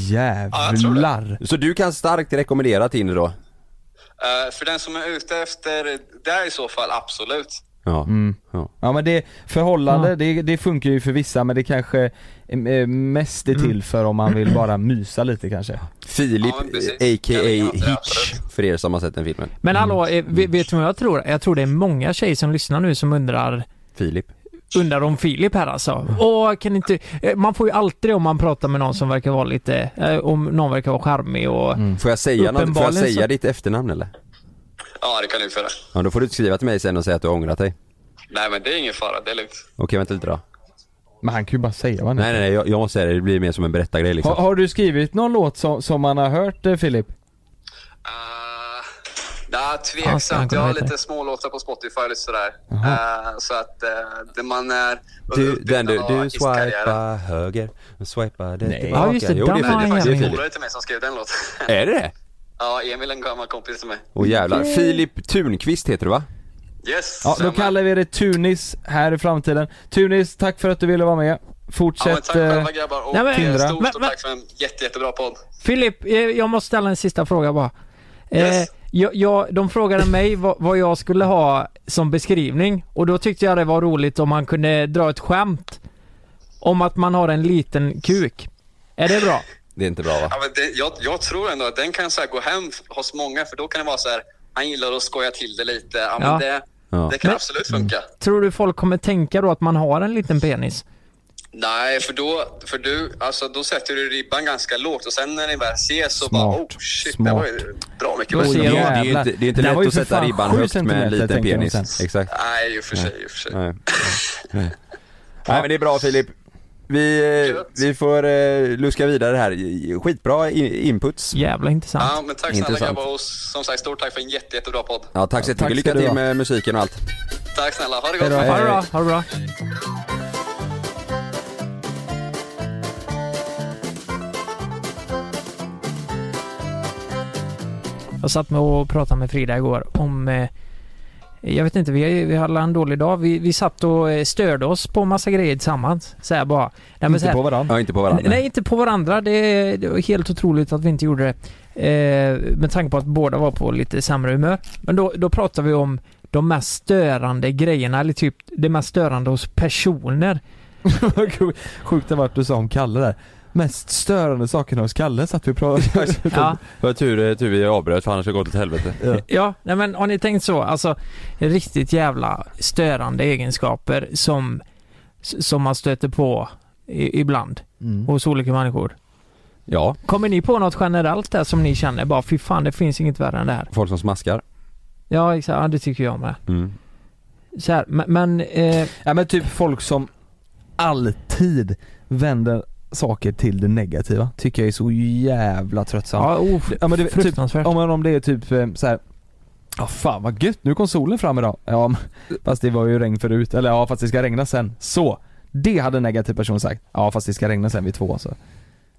Speaker 2: Jävlar!
Speaker 4: Mm. Så du kan starkt rekommendera Tinder då?
Speaker 7: Eh, för den som är ute efter det i så fall, absolut.
Speaker 4: Ja.
Speaker 1: Mm.
Speaker 4: ja.
Speaker 2: Ja men det, förhållande,
Speaker 1: Ja.
Speaker 2: det, det funkar ju för vissa men det kanske eh, mest är till för om man vill bara mysa lite kanske.
Speaker 4: Filip,
Speaker 7: Ja, men precis.
Speaker 4: eh,
Speaker 7: Jag vet
Speaker 4: a.k.a.
Speaker 7: inte,
Speaker 4: Hitch,
Speaker 7: absolut.
Speaker 4: för er som har sett den filmen.
Speaker 1: Men hallå, eh, ve- vet du vad jag tror? Jag tror det är många tjejer som lyssnar nu som undrar
Speaker 4: Filip.
Speaker 1: Undrar om Filip här alltså. Åh, kan inte... eh, Man får ju alltid det om man pratar med någon som verkar vara lite... eh, Om någon verkar vara charmig och...
Speaker 4: Får jag säga, något, får jag
Speaker 1: Uppenbarligen
Speaker 4: säga
Speaker 1: så-
Speaker 4: ditt efternamn eller?
Speaker 7: Ja, det kan du föra.
Speaker 4: Ja, då får du skriva till mig sen och säga att du har ångrat dig.
Speaker 7: Nej, men det är ingen fara. Det är lugnt.
Speaker 4: Okej, vänta lite då.
Speaker 2: Men han kan ju bara säga vad han
Speaker 4: Nej,
Speaker 2: är.
Speaker 4: nej, nej, jag, jag måste säga det. Det blir mer som en berättargrej liksom.
Speaker 2: Har, har du skrivit någon låt som, som man har hört eh, Filip?
Speaker 7: Uh, nej,
Speaker 1: Fan, ska han
Speaker 7: tveksamt.
Speaker 1: kunna
Speaker 7: Jag har
Speaker 1: heta det?
Speaker 7: lite smålåtar på Spotify och lite sådär. Eh, så att eh, det man är
Speaker 4: Du, den du,
Speaker 7: av
Speaker 4: du
Speaker 7: artistkarriären.
Speaker 4: swipar höger, och swipar det
Speaker 2: Nej.
Speaker 4: tillbaka.
Speaker 1: Ja, just det,
Speaker 4: jo,
Speaker 1: den
Speaker 4: det,
Speaker 7: Nej, det
Speaker 1: var
Speaker 7: är
Speaker 1: han
Speaker 4: är Filip. det
Speaker 7: faktiskt
Speaker 1: jävla
Speaker 4: är
Speaker 7: en
Speaker 4: Filip.
Speaker 7: polare till mig som skrev den låten. [laughs]
Speaker 4: Är det det?
Speaker 7: ja, Emil är en gammal kompis till mig.
Speaker 4: Åh jävlar. Filip Tunqvist heter du va?
Speaker 7: Yes.
Speaker 2: Ja, då
Speaker 7: stämmer.
Speaker 2: kallar vi det Tunis här i framtiden. Tunis, tack för att du ville vara med.
Speaker 7: Ja, men
Speaker 2: Fortsätt...
Speaker 7: tack
Speaker 2: eh,
Speaker 7: själva grabbar och
Speaker 1: Nej,
Speaker 7: Nej,
Speaker 1: men-
Speaker 7: men,
Speaker 2: Tindra.
Speaker 7: stort
Speaker 1: Men-
Speaker 7: och
Speaker 1: men-
Speaker 7: tack för en jätte, jättebra podd.
Speaker 1: Filip, eh, jag måste ställa en sista fråga bara.
Speaker 7: Yes.
Speaker 1: Eh, jag, jag, de frågade mig vad, vad jag skulle ha som beskrivning och då tyckte jag det var roligt om man kunde dra ett skämt om att man har en liten kuk. Är det bra?
Speaker 4: Det är inte bra va?
Speaker 7: Ja, men det, jag, jag tror ändå att den kan så här gå hem f- hos många för då kan det vara så här, han gillar att skoja till det lite. Ja, men
Speaker 1: Ja.
Speaker 7: Det,
Speaker 4: Ja.
Speaker 7: det kan
Speaker 1: Men-
Speaker 7: absolut funka.
Speaker 1: Tror du folk kommer tänka då att man har en liten penis?
Speaker 7: Nej, för då, för du, alltså, då sätter du ribban ganska lågt och sen när ni väl ses så bara oh shit, det var ju bra mycket
Speaker 1: Då
Speaker 7: bättre.
Speaker 1: ser
Speaker 4: Det,
Speaker 1: jag-
Speaker 4: är- det är ju inte, det är inte
Speaker 2: Det var
Speaker 4: lätt
Speaker 2: ju
Speaker 4: att
Speaker 2: för
Speaker 4: sätta
Speaker 2: fan
Speaker 4: ribban
Speaker 2: sju
Speaker 4: högt med en
Speaker 2: centimeter,
Speaker 4: liten
Speaker 2: tänker jag
Speaker 4: penis.
Speaker 2: sen.
Speaker 4: Exakt.
Speaker 7: Nej, i och för sig, i och för sig.
Speaker 4: Nej. Nej men det är bra Filip. Vi, eh, vi får eh, luska vidare här. Skitbra i- inputs.
Speaker 1: Jävla intressant.
Speaker 7: Ja, men tack snälla
Speaker 4: Intressant.
Speaker 7: grabbar och som sagt stort tack för en jätte, jättebra podd.
Speaker 4: Ja, tack så
Speaker 2: tack
Speaker 4: jättemycket.
Speaker 2: ska
Speaker 4: Lycka
Speaker 2: du
Speaker 4: till
Speaker 2: ha.
Speaker 4: med musiken och allt.
Speaker 7: Tack snälla, ha det
Speaker 2: Hej
Speaker 7: gott.
Speaker 2: då.
Speaker 1: Ha det bra, ha det bra. Jag satt med och pratade med Frida igår om eh, jag vet inte, vi, vi hade en dålig dag. Vi, vi satt och eh, störde oss på massa grejer tillsammans. Så här bara. Nej, men så
Speaker 2: Inte
Speaker 1: här,
Speaker 2: på
Speaker 4: [laughs]
Speaker 2: varandra.
Speaker 4: Ja, inte på varandra.
Speaker 1: Nej, inte på varandra. Det är, det var helt otroligt att vi inte gjorde det. Eh, med tanke på att båda var på lite sämre humör. Men då, då pratar vi om de mest störande grejerna, eller typ
Speaker 4: [laughs]
Speaker 1: det mest störande hos personer.
Speaker 2: Vad sjukt det vart du sa om Kalle där. mest störande sakerna hos Kalle satt vi och pratade
Speaker 1: Ja,
Speaker 4: Det var tur, tur vi avbröt för annars hade det gått åt helvete.
Speaker 1: ja nej men har ni tänkt så? Alltså, riktigt jävla störande egenskaper som, som man stöter på i, ibland
Speaker 2: mm.
Speaker 1: hos olika människor.
Speaker 4: Ja,
Speaker 1: Kommer ni på något generellt där som ni känner bara fy fan det finns inget värre än det här?
Speaker 4: folk som smaskar.
Speaker 1: Ja exakt, ja, det tycker jag med.
Speaker 4: Mm.
Speaker 1: Så här, men, men eh,
Speaker 2: Ja men typ folk som alltid vänder saker till det negativa Tycker jag är så jävla tröttsamt
Speaker 1: ja, oh,
Speaker 2: Ja, men det- typ-
Speaker 1: fruktansvärt.
Speaker 2: Om, man- om det är typ eh, så här. Ja fan vad gött, nu kom solen fram idag. Ja men, fast det var ju regn förut, eller ja fast det ska regna sen. Så! Det hade en negativ person sagt. Ja fast det ska regna sen vid två så.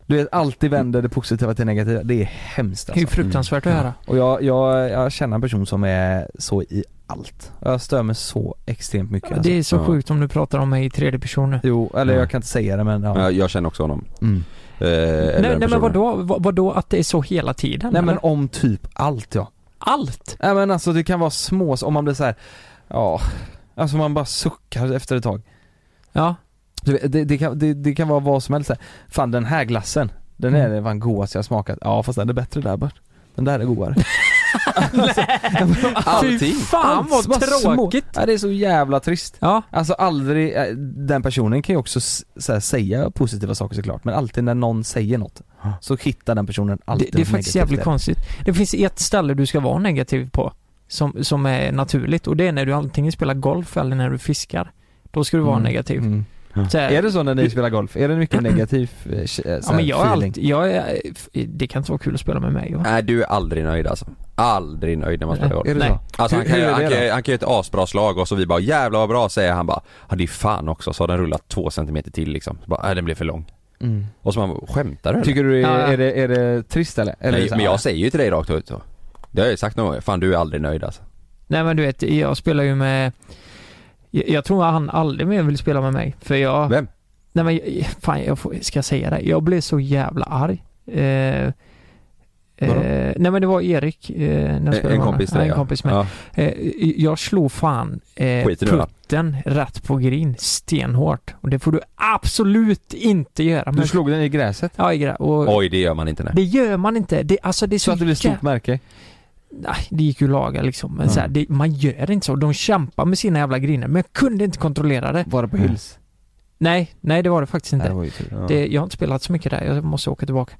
Speaker 2: Du vet, alltid vänder det positiva till det negativa. Det är hemskt
Speaker 1: det är ju
Speaker 2: alltså.
Speaker 1: fruktansvärt att höra.
Speaker 2: Och jag, jag, jag känner en person som är så i allt. Och Jag stör mig så extremt mycket alltså. Typ,
Speaker 1: Det är så
Speaker 4: Ja.
Speaker 1: sjukt om du pratar om mig i tredje person nu.
Speaker 2: Jo, eller
Speaker 4: Ja.
Speaker 2: jag kan inte säga det men ja.
Speaker 4: Men Jag, jag känner också honom.
Speaker 2: Mm.
Speaker 4: Eh, eller
Speaker 1: Nej,
Speaker 4: den
Speaker 1: nej men
Speaker 4: personen.
Speaker 1: vadå, vad, vadå att det är så hela tiden?
Speaker 2: Nej men
Speaker 1: eller?
Speaker 2: om typ allt ja.
Speaker 1: Allt!
Speaker 2: Nej men alltså det kan vara små, om man blir så här. ja. Alltså man bara suckar efter ett tag.
Speaker 1: Ja,
Speaker 2: Du vet, Det, det, kan, det, det kan vara vad som helst så här. Fan den här glassen, den är
Speaker 1: Mm.
Speaker 2: mm. fan godaste jag har smakat. Ja fast den är bättre där bort. Den där
Speaker 1: [laughs]
Speaker 2: är godare. alltså,
Speaker 4: Allting.
Speaker 1: Fy fan
Speaker 2: allt
Speaker 1: vad
Speaker 2: bara små-
Speaker 1: tråkigt!
Speaker 2: Ja, det är så jävla trist.
Speaker 1: Ja,
Speaker 2: Alltså aldrig, eh, den personen kan ju också s- så här, säga positiva saker såklart men alltid när någon säger något så hittar den personen
Speaker 1: det,
Speaker 2: alltid
Speaker 1: det är
Speaker 2: något
Speaker 1: faktiskt
Speaker 2: negativt
Speaker 1: jävligt
Speaker 2: där.
Speaker 1: konstigt. Det finns ett ställe du ska vara negativ på, som, som är naturligt, och det är när du antingen spelar golf eller när du fiskar. Då ska du vara
Speaker 2: Mm.
Speaker 1: negativ.
Speaker 2: Mm.
Speaker 1: Så här,
Speaker 2: Är det så när ni spelar golf? Är
Speaker 1: [clears throat]
Speaker 2: det mycket negativ eh, k- eh, så här,
Speaker 1: ja, men jag är
Speaker 2: feeling?
Speaker 1: alltid, jag är, det kan inte vara kul att spela med mig va?
Speaker 4: Nej du är aldrig nöjd alltså. Aldrig nöjd när man spelar golf.
Speaker 2: Är det
Speaker 1: Nej.
Speaker 2: så?
Speaker 4: Alltså han
Speaker 2: Hur-
Speaker 4: kan,
Speaker 2: hur
Speaker 4: ju-
Speaker 2: är det
Speaker 4: han, kan,
Speaker 2: då?
Speaker 4: ju- han kan ju ett asbra slag och så vi bara 'Jävlar vad bra' säger han bara 'Ja det är fan också' så har den rullat två centimeter till liksom. Så bara, äh, den blev för lång.
Speaker 2: Mm.
Speaker 4: Och så man bara, 'Skämtar du eller?'
Speaker 2: Tycker du,
Speaker 1: Ja, ja.
Speaker 2: är, är, det, är det trist eller? eller är det
Speaker 4: Nej,
Speaker 2: så här, "Ah,
Speaker 4: men
Speaker 2: ja.
Speaker 4: jag säger ju till dig rakt ut så. Det har jag ju sagt någon gång, 'Fan du är aldrig nöjd alltså'
Speaker 1: Nej men du vet, jag spelar ju med jag, jag tror han aldrig mer vill spela med mig, för jag...
Speaker 4: Vem?
Speaker 1: Nej men, jag- fan jag får, ska jag säga det? Jag blev så jävla arg. Eh, eh,
Speaker 4: Vadå?
Speaker 1: nej men det var Erik, eh, när jag spelade
Speaker 4: En,
Speaker 1: med
Speaker 4: en
Speaker 1: honom.
Speaker 4: kompis till
Speaker 1: ja,
Speaker 4: dig
Speaker 1: en kompis med.
Speaker 4: ja.
Speaker 1: Eh, jag slog fan eh,
Speaker 4: Skit i det då.
Speaker 1: putten rätt på green stenhårt. Och det får du absolut inte göra.
Speaker 2: Du slog den i gräset?
Speaker 1: Ja, i gra- och
Speaker 4: Oj det gör man inte nej.
Speaker 1: Det gör man inte. Det, alltså det är så,
Speaker 2: Så att det blir
Speaker 1: jä-
Speaker 2: stort märke?
Speaker 1: Nej, det gick ju att laga liksom. Men så här, det, man gör inte så. De kämpar med sina jävla griner. Men jag kunde inte kontrollera det.
Speaker 2: Var det på hyls?
Speaker 1: Nej, nej det var det faktiskt inte.
Speaker 2: Nej, det var ju tur.
Speaker 4: Ja.
Speaker 1: Det, jag har inte spelat så mycket där. Jag måste åka tillbaka.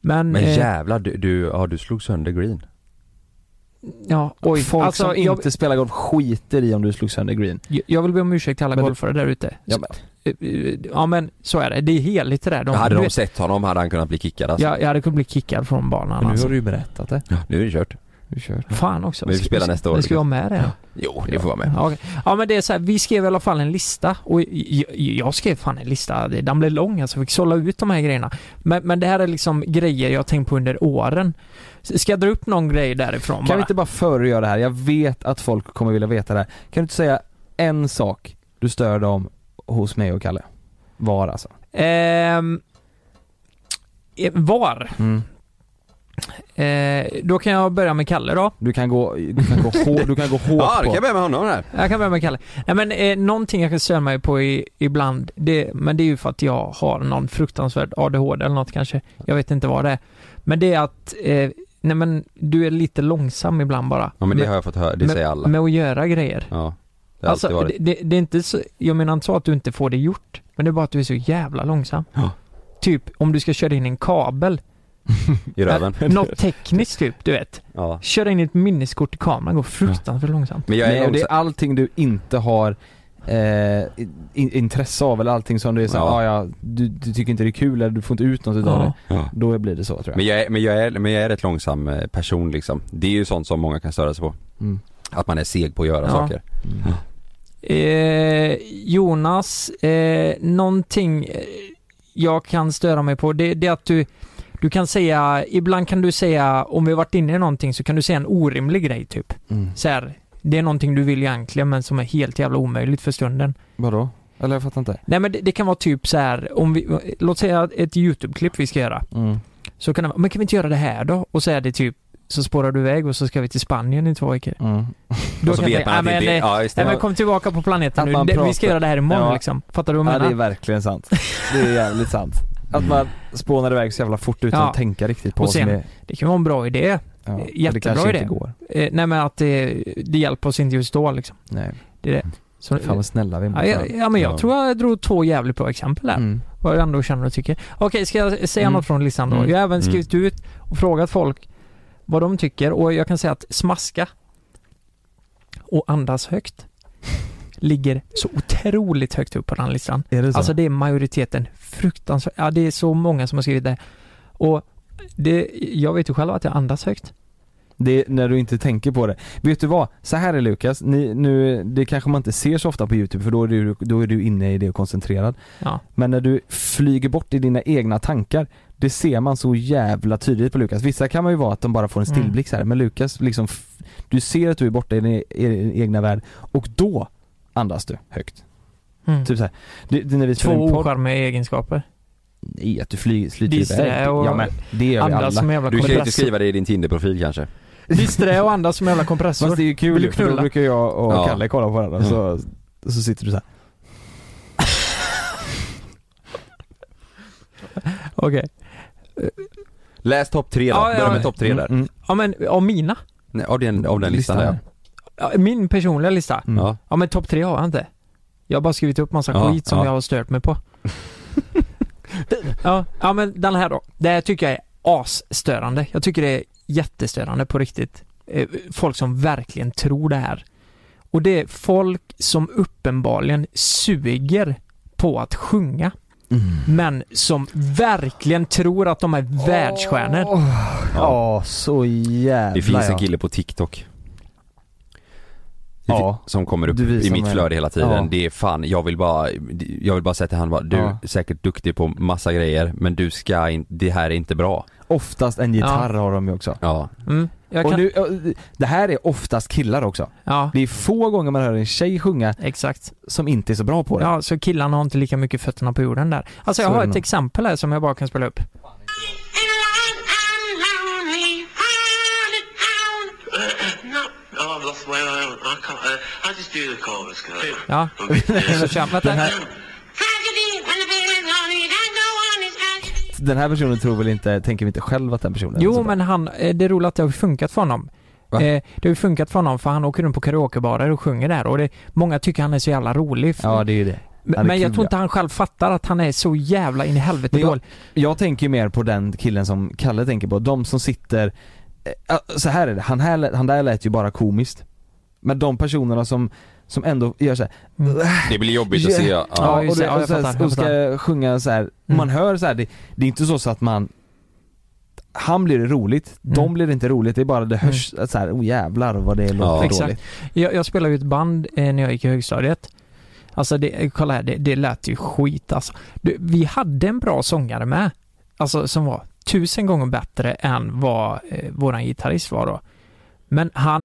Speaker 1: Men...
Speaker 4: Men
Speaker 1: eh,
Speaker 4: jävlar du, du, ja, du slog sönder green.
Speaker 1: ja, oj.
Speaker 2: Folk
Speaker 1: alltså,
Speaker 2: som
Speaker 1: jag,
Speaker 2: inte spelar golf skiter i om du slog sönder green.
Speaker 1: jag vill be om ursäkt till alla
Speaker 2: Men du-
Speaker 1: golfare där ute.
Speaker 2: Ja, men,
Speaker 1: Eh, eh, Ja men så är det. Det är heligt det där. De,
Speaker 4: hade
Speaker 1: du
Speaker 4: de
Speaker 1: vet,
Speaker 4: sett honom hade han kunnat bli kickad alltså.
Speaker 1: jag, jag hade kunnat bli kickad från banan
Speaker 2: men nu
Speaker 1: alltså.
Speaker 2: har du ju berättat det.
Speaker 4: Nu är det kört.
Speaker 2: Du kör.
Speaker 1: Fan också.
Speaker 4: Men vi spelar nästa år.
Speaker 1: Men ska jag med det?
Speaker 4: Jo, det får vara med.
Speaker 1: Ja, okej. ja men det är så här, vi skrev i alla fall en lista och jag, jag skrev fan en lista, Det- den blev lång alltså, vi fick sålla ut de här grejerna. Men, men det här är liksom grejer jag har tänkt på under åren. S- Ska jag dra upp någon grej därifrån
Speaker 2: Kan
Speaker 1: bara?
Speaker 2: vi inte bara föregöra det här? Jag vet att folk kommer vilja veta det här. Kan du inte säga en sak du stör dem hos mig och Kalle? Var alltså.
Speaker 1: Ehm, eh, var?
Speaker 2: Mm.
Speaker 1: Eh, då kan jag börja med Kalle då.
Speaker 2: Du kan gå, du [laughs] kan gå, hår, du kan gå hårt
Speaker 4: Ja, det kan
Speaker 2: på.
Speaker 4: jag börja med honom där.
Speaker 1: Jag kan börja med Kalle. Nej men eh, någonting jag kan störa mig på i, ibland, det, men det är ju för att jag har någon fruktansvärd ADHD eller något kanske. Jag vet inte vad det är. Men det är att, eh, nej men du är lite långsam ibland bara.
Speaker 4: Ja men det
Speaker 1: med,
Speaker 4: har jag fått höra, det säger alla.
Speaker 1: Med att göra grejer.
Speaker 4: Ja. Det har alltid
Speaker 1: Alltså,
Speaker 4: varit.
Speaker 1: det, det, det är inte så, jag menar inte så att du inte får det gjort, men det är bara att du är så jävla långsam.
Speaker 4: Ja.
Speaker 1: Typ om du ska köra in en
Speaker 4: [laughs]
Speaker 1: kabel, [laughs]
Speaker 4: I röven.
Speaker 1: eh, något tekniskt typ, du vet.
Speaker 4: Ja.
Speaker 1: Köra in ett minneskort i kameran går fruktansvärt långsamt.
Speaker 4: Men jag är
Speaker 2: Nej, och det
Speaker 4: långsam.
Speaker 2: är allting du inte har eh, in, intresse av eller allting som du är såhär,
Speaker 4: Ja.
Speaker 2: ja. ja, du, du tycker inte det är kul eller du får inte ut något utav
Speaker 1: Ja.
Speaker 2: det.
Speaker 4: Ja.
Speaker 2: Då blir det så tror jag.
Speaker 4: Men jag, är, men, jag är, men jag är rätt långsam eh, person liksom. Det är ju sånt som många kan störa sig på.
Speaker 2: Mm.
Speaker 4: Att man är seg på att göra
Speaker 1: Ja.
Speaker 4: saker.
Speaker 1: Eh, Jonas, eh, någonting eh, jag kan störa mig på det, det är att du, du kan säga, ibland kan du säga, om vi har varit inne i någonting så kan du säga en orimlig grej typ.
Speaker 2: Mm.
Speaker 1: Så här, det är någonting du vill egentligen men som är helt jävla omöjligt för stunden.
Speaker 2: Vadå? Eller jag fattar inte.
Speaker 1: Nej men det, det kan vara typ så här, om vi, låt säga ett YouTube-klipp vi ska göra.
Speaker 2: Mm.
Speaker 1: Så kan det vara, men kan vi inte göra det här då? Och så är det typ, så spårar du iväg och så ska vi till Spanien i två veckor.
Speaker 2: Mm.
Speaker 1: Då
Speaker 4: och så
Speaker 1: kan
Speaker 4: vet
Speaker 1: jag-
Speaker 4: man att
Speaker 1: ja,
Speaker 4: det
Speaker 1: men,
Speaker 4: inte är...
Speaker 1: eh,
Speaker 4: Ja, just det.
Speaker 1: Nej men kom tillbaka på planeten
Speaker 2: Att
Speaker 1: nu,
Speaker 2: man
Speaker 1: Det- vi ska
Speaker 2: pratar-
Speaker 1: göra det här imorgon
Speaker 2: Ja.
Speaker 1: liksom. Fattar du vad jag
Speaker 2: Ja,
Speaker 1: menar? [laughs]
Speaker 2: det är verkligen sant. Det är jävligt sant. att man spånar iväg så jävla fort utan
Speaker 1: Ja.
Speaker 2: att tänka riktigt på
Speaker 1: Och
Speaker 2: vad
Speaker 1: sen-
Speaker 2: som är...
Speaker 1: Det kan vara en bra idé.
Speaker 2: Ja, för det
Speaker 1: jättebra
Speaker 2: kanske
Speaker 1: idé.
Speaker 2: Inte går.
Speaker 1: Eh, nej men att det, det hjälper oss inte just då liksom.
Speaker 2: Nej.
Speaker 1: Det är det. Så,
Speaker 2: Fan vad snälla vi är mot
Speaker 1: ja, ja,
Speaker 2: varandra.
Speaker 1: ja men jag
Speaker 4: Ja.
Speaker 1: tror jag drog två jävligt bra exempel där.
Speaker 2: mm.
Speaker 1: Vad jag ändå känner och tycker. Okej, ska jag säga
Speaker 2: Mm.
Speaker 1: något från listan då?
Speaker 2: Mm.
Speaker 1: Jag har även skrivit ut och frågat folk vad de tycker och jag kan säga att smaska och andas högt ligger så otroligt högt upp på den listan.
Speaker 2: Är det så?
Speaker 1: Alltså det är majoriteten. Fruktansvärt. Ja, det är så många som har skrivit det. Och det, jag vet ju själv att jag andas högt.
Speaker 2: Det är när du inte tänker på det. Vet du vad? Så här är Lukas, Ni, nu, det kanske man inte ser så ofta på youtube för då är du, då är du inne i det och koncentrerad.
Speaker 1: Ja.
Speaker 2: Men när du flyger bort i dina egna tankar, det ser man så jävla tydligt på Lukas. Vissa kan man ju vara att de bara får en
Speaker 1: Mm.
Speaker 2: stillblick så här, men Lukas liksom, f- du ser att du är borta i din, e- i din egna värld och då andas du högt.
Speaker 1: Mm.
Speaker 2: Typ så här. Det, det, när vi
Speaker 1: Två
Speaker 2: spelar in podd-
Speaker 1: ocharmiga egenskaper.
Speaker 2: Nej, att du flyger, flyter
Speaker 1: Disträ
Speaker 2: iväg.
Speaker 1: och
Speaker 2: Ja men, det gör vi
Speaker 1: Andas
Speaker 2: alla.
Speaker 1: som jävla
Speaker 4: Du kan ju inte
Speaker 1: kompressor.
Speaker 4: skriva det i din Tinder-profil kanske?
Speaker 1: Disträ och andas som jävla kompressor.
Speaker 2: Fast det är ju
Speaker 1: Vill du
Speaker 2: kul för då
Speaker 1: knulla?
Speaker 2: brukar jag och
Speaker 4: Ja.
Speaker 2: Kalle kolla på varandra
Speaker 4: Mm.
Speaker 2: så, så sitter du så här.
Speaker 1: Okej.
Speaker 4: Läs topp tre då,
Speaker 1: Ja, ja,
Speaker 4: börja med
Speaker 1: ja.
Speaker 4: topp tre där.
Speaker 2: Mm, mm.
Speaker 1: Ja men av mina.
Speaker 4: Nej, av, den, av den listan där.
Speaker 1: Ja, Min personliga lista.
Speaker 2: Mm.
Speaker 4: Ja.
Speaker 1: Ja men topp tre har jag inte. Jag har bara skrivit upp massa
Speaker 4: Ja,
Speaker 1: skit som
Speaker 4: ja.
Speaker 1: jag har stört mig på. ja, ja men den här då. Det här tycker jag är asstörande. Jag tycker det är jättestörande på riktigt. Eh, Folk som verkligen tror det här. Och det är folk som uppenbarligen suger på att sjunga. Men som verkligen tror att de är världsstjärnor.
Speaker 2: Ja, så jävla
Speaker 4: Det finns
Speaker 2: ja.
Speaker 4: en kille på TikTok
Speaker 2: Ja.
Speaker 4: som kommer upp
Speaker 2: Du visar
Speaker 4: i mitt
Speaker 2: mig.
Speaker 4: flöde hela tiden.
Speaker 2: Ja.
Speaker 4: Det är fan, jag vill bara, jag vill bara säga till han bara, du
Speaker 2: Ja.
Speaker 4: är säkert duktig på massa grejer men du ska inte, det här är inte bra.
Speaker 2: Oftast en gitarr har de ju också.
Speaker 4: Ja.
Speaker 1: Mm, jag
Speaker 2: Och
Speaker 1: kan,
Speaker 2: nu, ö, det här är oftast killar också.
Speaker 1: ja,
Speaker 2: Det är få gånger man hör en tjej sjunga
Speaker 1: exakt.
Speaker 2: som inte är så bra på det.
Speaker 1: Ja, så killarna har inte lika mycket fötterna på jorden där. Alltså jag
Speaker 2: Så är
Speaker 1: har ett
Speaker 2: det nog.
Speaker 1: exempel här som jag bara kan spela upp.
Speaker 8: No, oh, I've lost my own. I can't. Uh, I just do the chorus. Can I?
Speaker 1: Ja, så kör vänta.
Speaker 2: Den här personen tror väl inte, tänker väl inte själv att den personen är
Speaker 1: Jo,
Speaker 2: så bra.
Speaker 1: men han, eh, det är roligt att det har funkat för honom. Eh,
Speaker 4: Va?
Speaker 1: Det har ju funkat för honom för han åker runt på karaokebarer och sjunger där och det, många tycker han är så jävla rolig.
Speaker 2: Ja, det är ju det.
Speaker 1: men
Speaker 2: han är
Speaker 1: men jag
Speaker 2: kul,
Speaker 1: tror
Speaker 2: ja.
Speaker 1: inte han själv fattar att han är så jävla in i helvete
Speaker 2: Men jag-
Speaker 1: dålig.
Speaker 2: Jag tänker ju mer på den killen som Kalle tänker på, de som sitter eh, ah, så här är det, han, här, lät- han där lät ju bara komiskt. Men de personerna som, som ändå gör så här,
Speaker 4: Det blir jobbigt att se. Ja.
Speaker 1: Ja,
Speaker 2: och,
Speaker 1: just
Speaker 2: det,
Speaker 1: det. Ja, jag
Speaker 2: och, så här,
Speaker 1: fattar, Mm. jag
Speaker 2: och ska sjunga så här. man hör så här, det, det är inte så, så att man han blir det roligt,
Speaker 1: Mm.
Speaker 2: de blir det inte roligt, det är bara det hörs så här, oh jävlar vad det låter
Speaker 4: Ja.
Speaker 2: dåligt.
Speaker 1: Exakt. Jag, jag spelade ju ett band eh, när jag gick i högstadiet. Alltså det, eh, kolla här, det, det lät ju skit alltså. Du, vi hade en bra sångare med. Alltså som var tusen gånger bättre än vad eh, våran gitarrist var då. Men han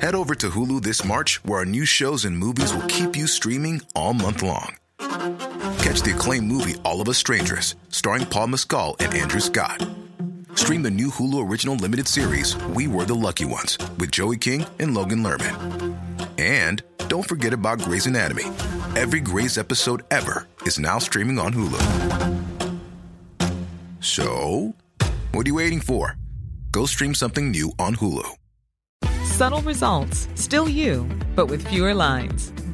Speaker 9: Head over to Hulu this March, where our new shows and movies will keep you streaming all month long. Catch the acclaimed movie All of Us Strangers, starring Paul Mescal and Andrew Scott. Stream the new Hulu original limited series We Were the Lucky Ones with Joey King and Logan Lerman. And don't forget about Grey's Anatomy. Every Grey's episode ever is now streaming on Hulu. So, what are you waiting for? Go stream something new on Hulu.
Speaker 10: Subtle results, still you, but with fewer lines.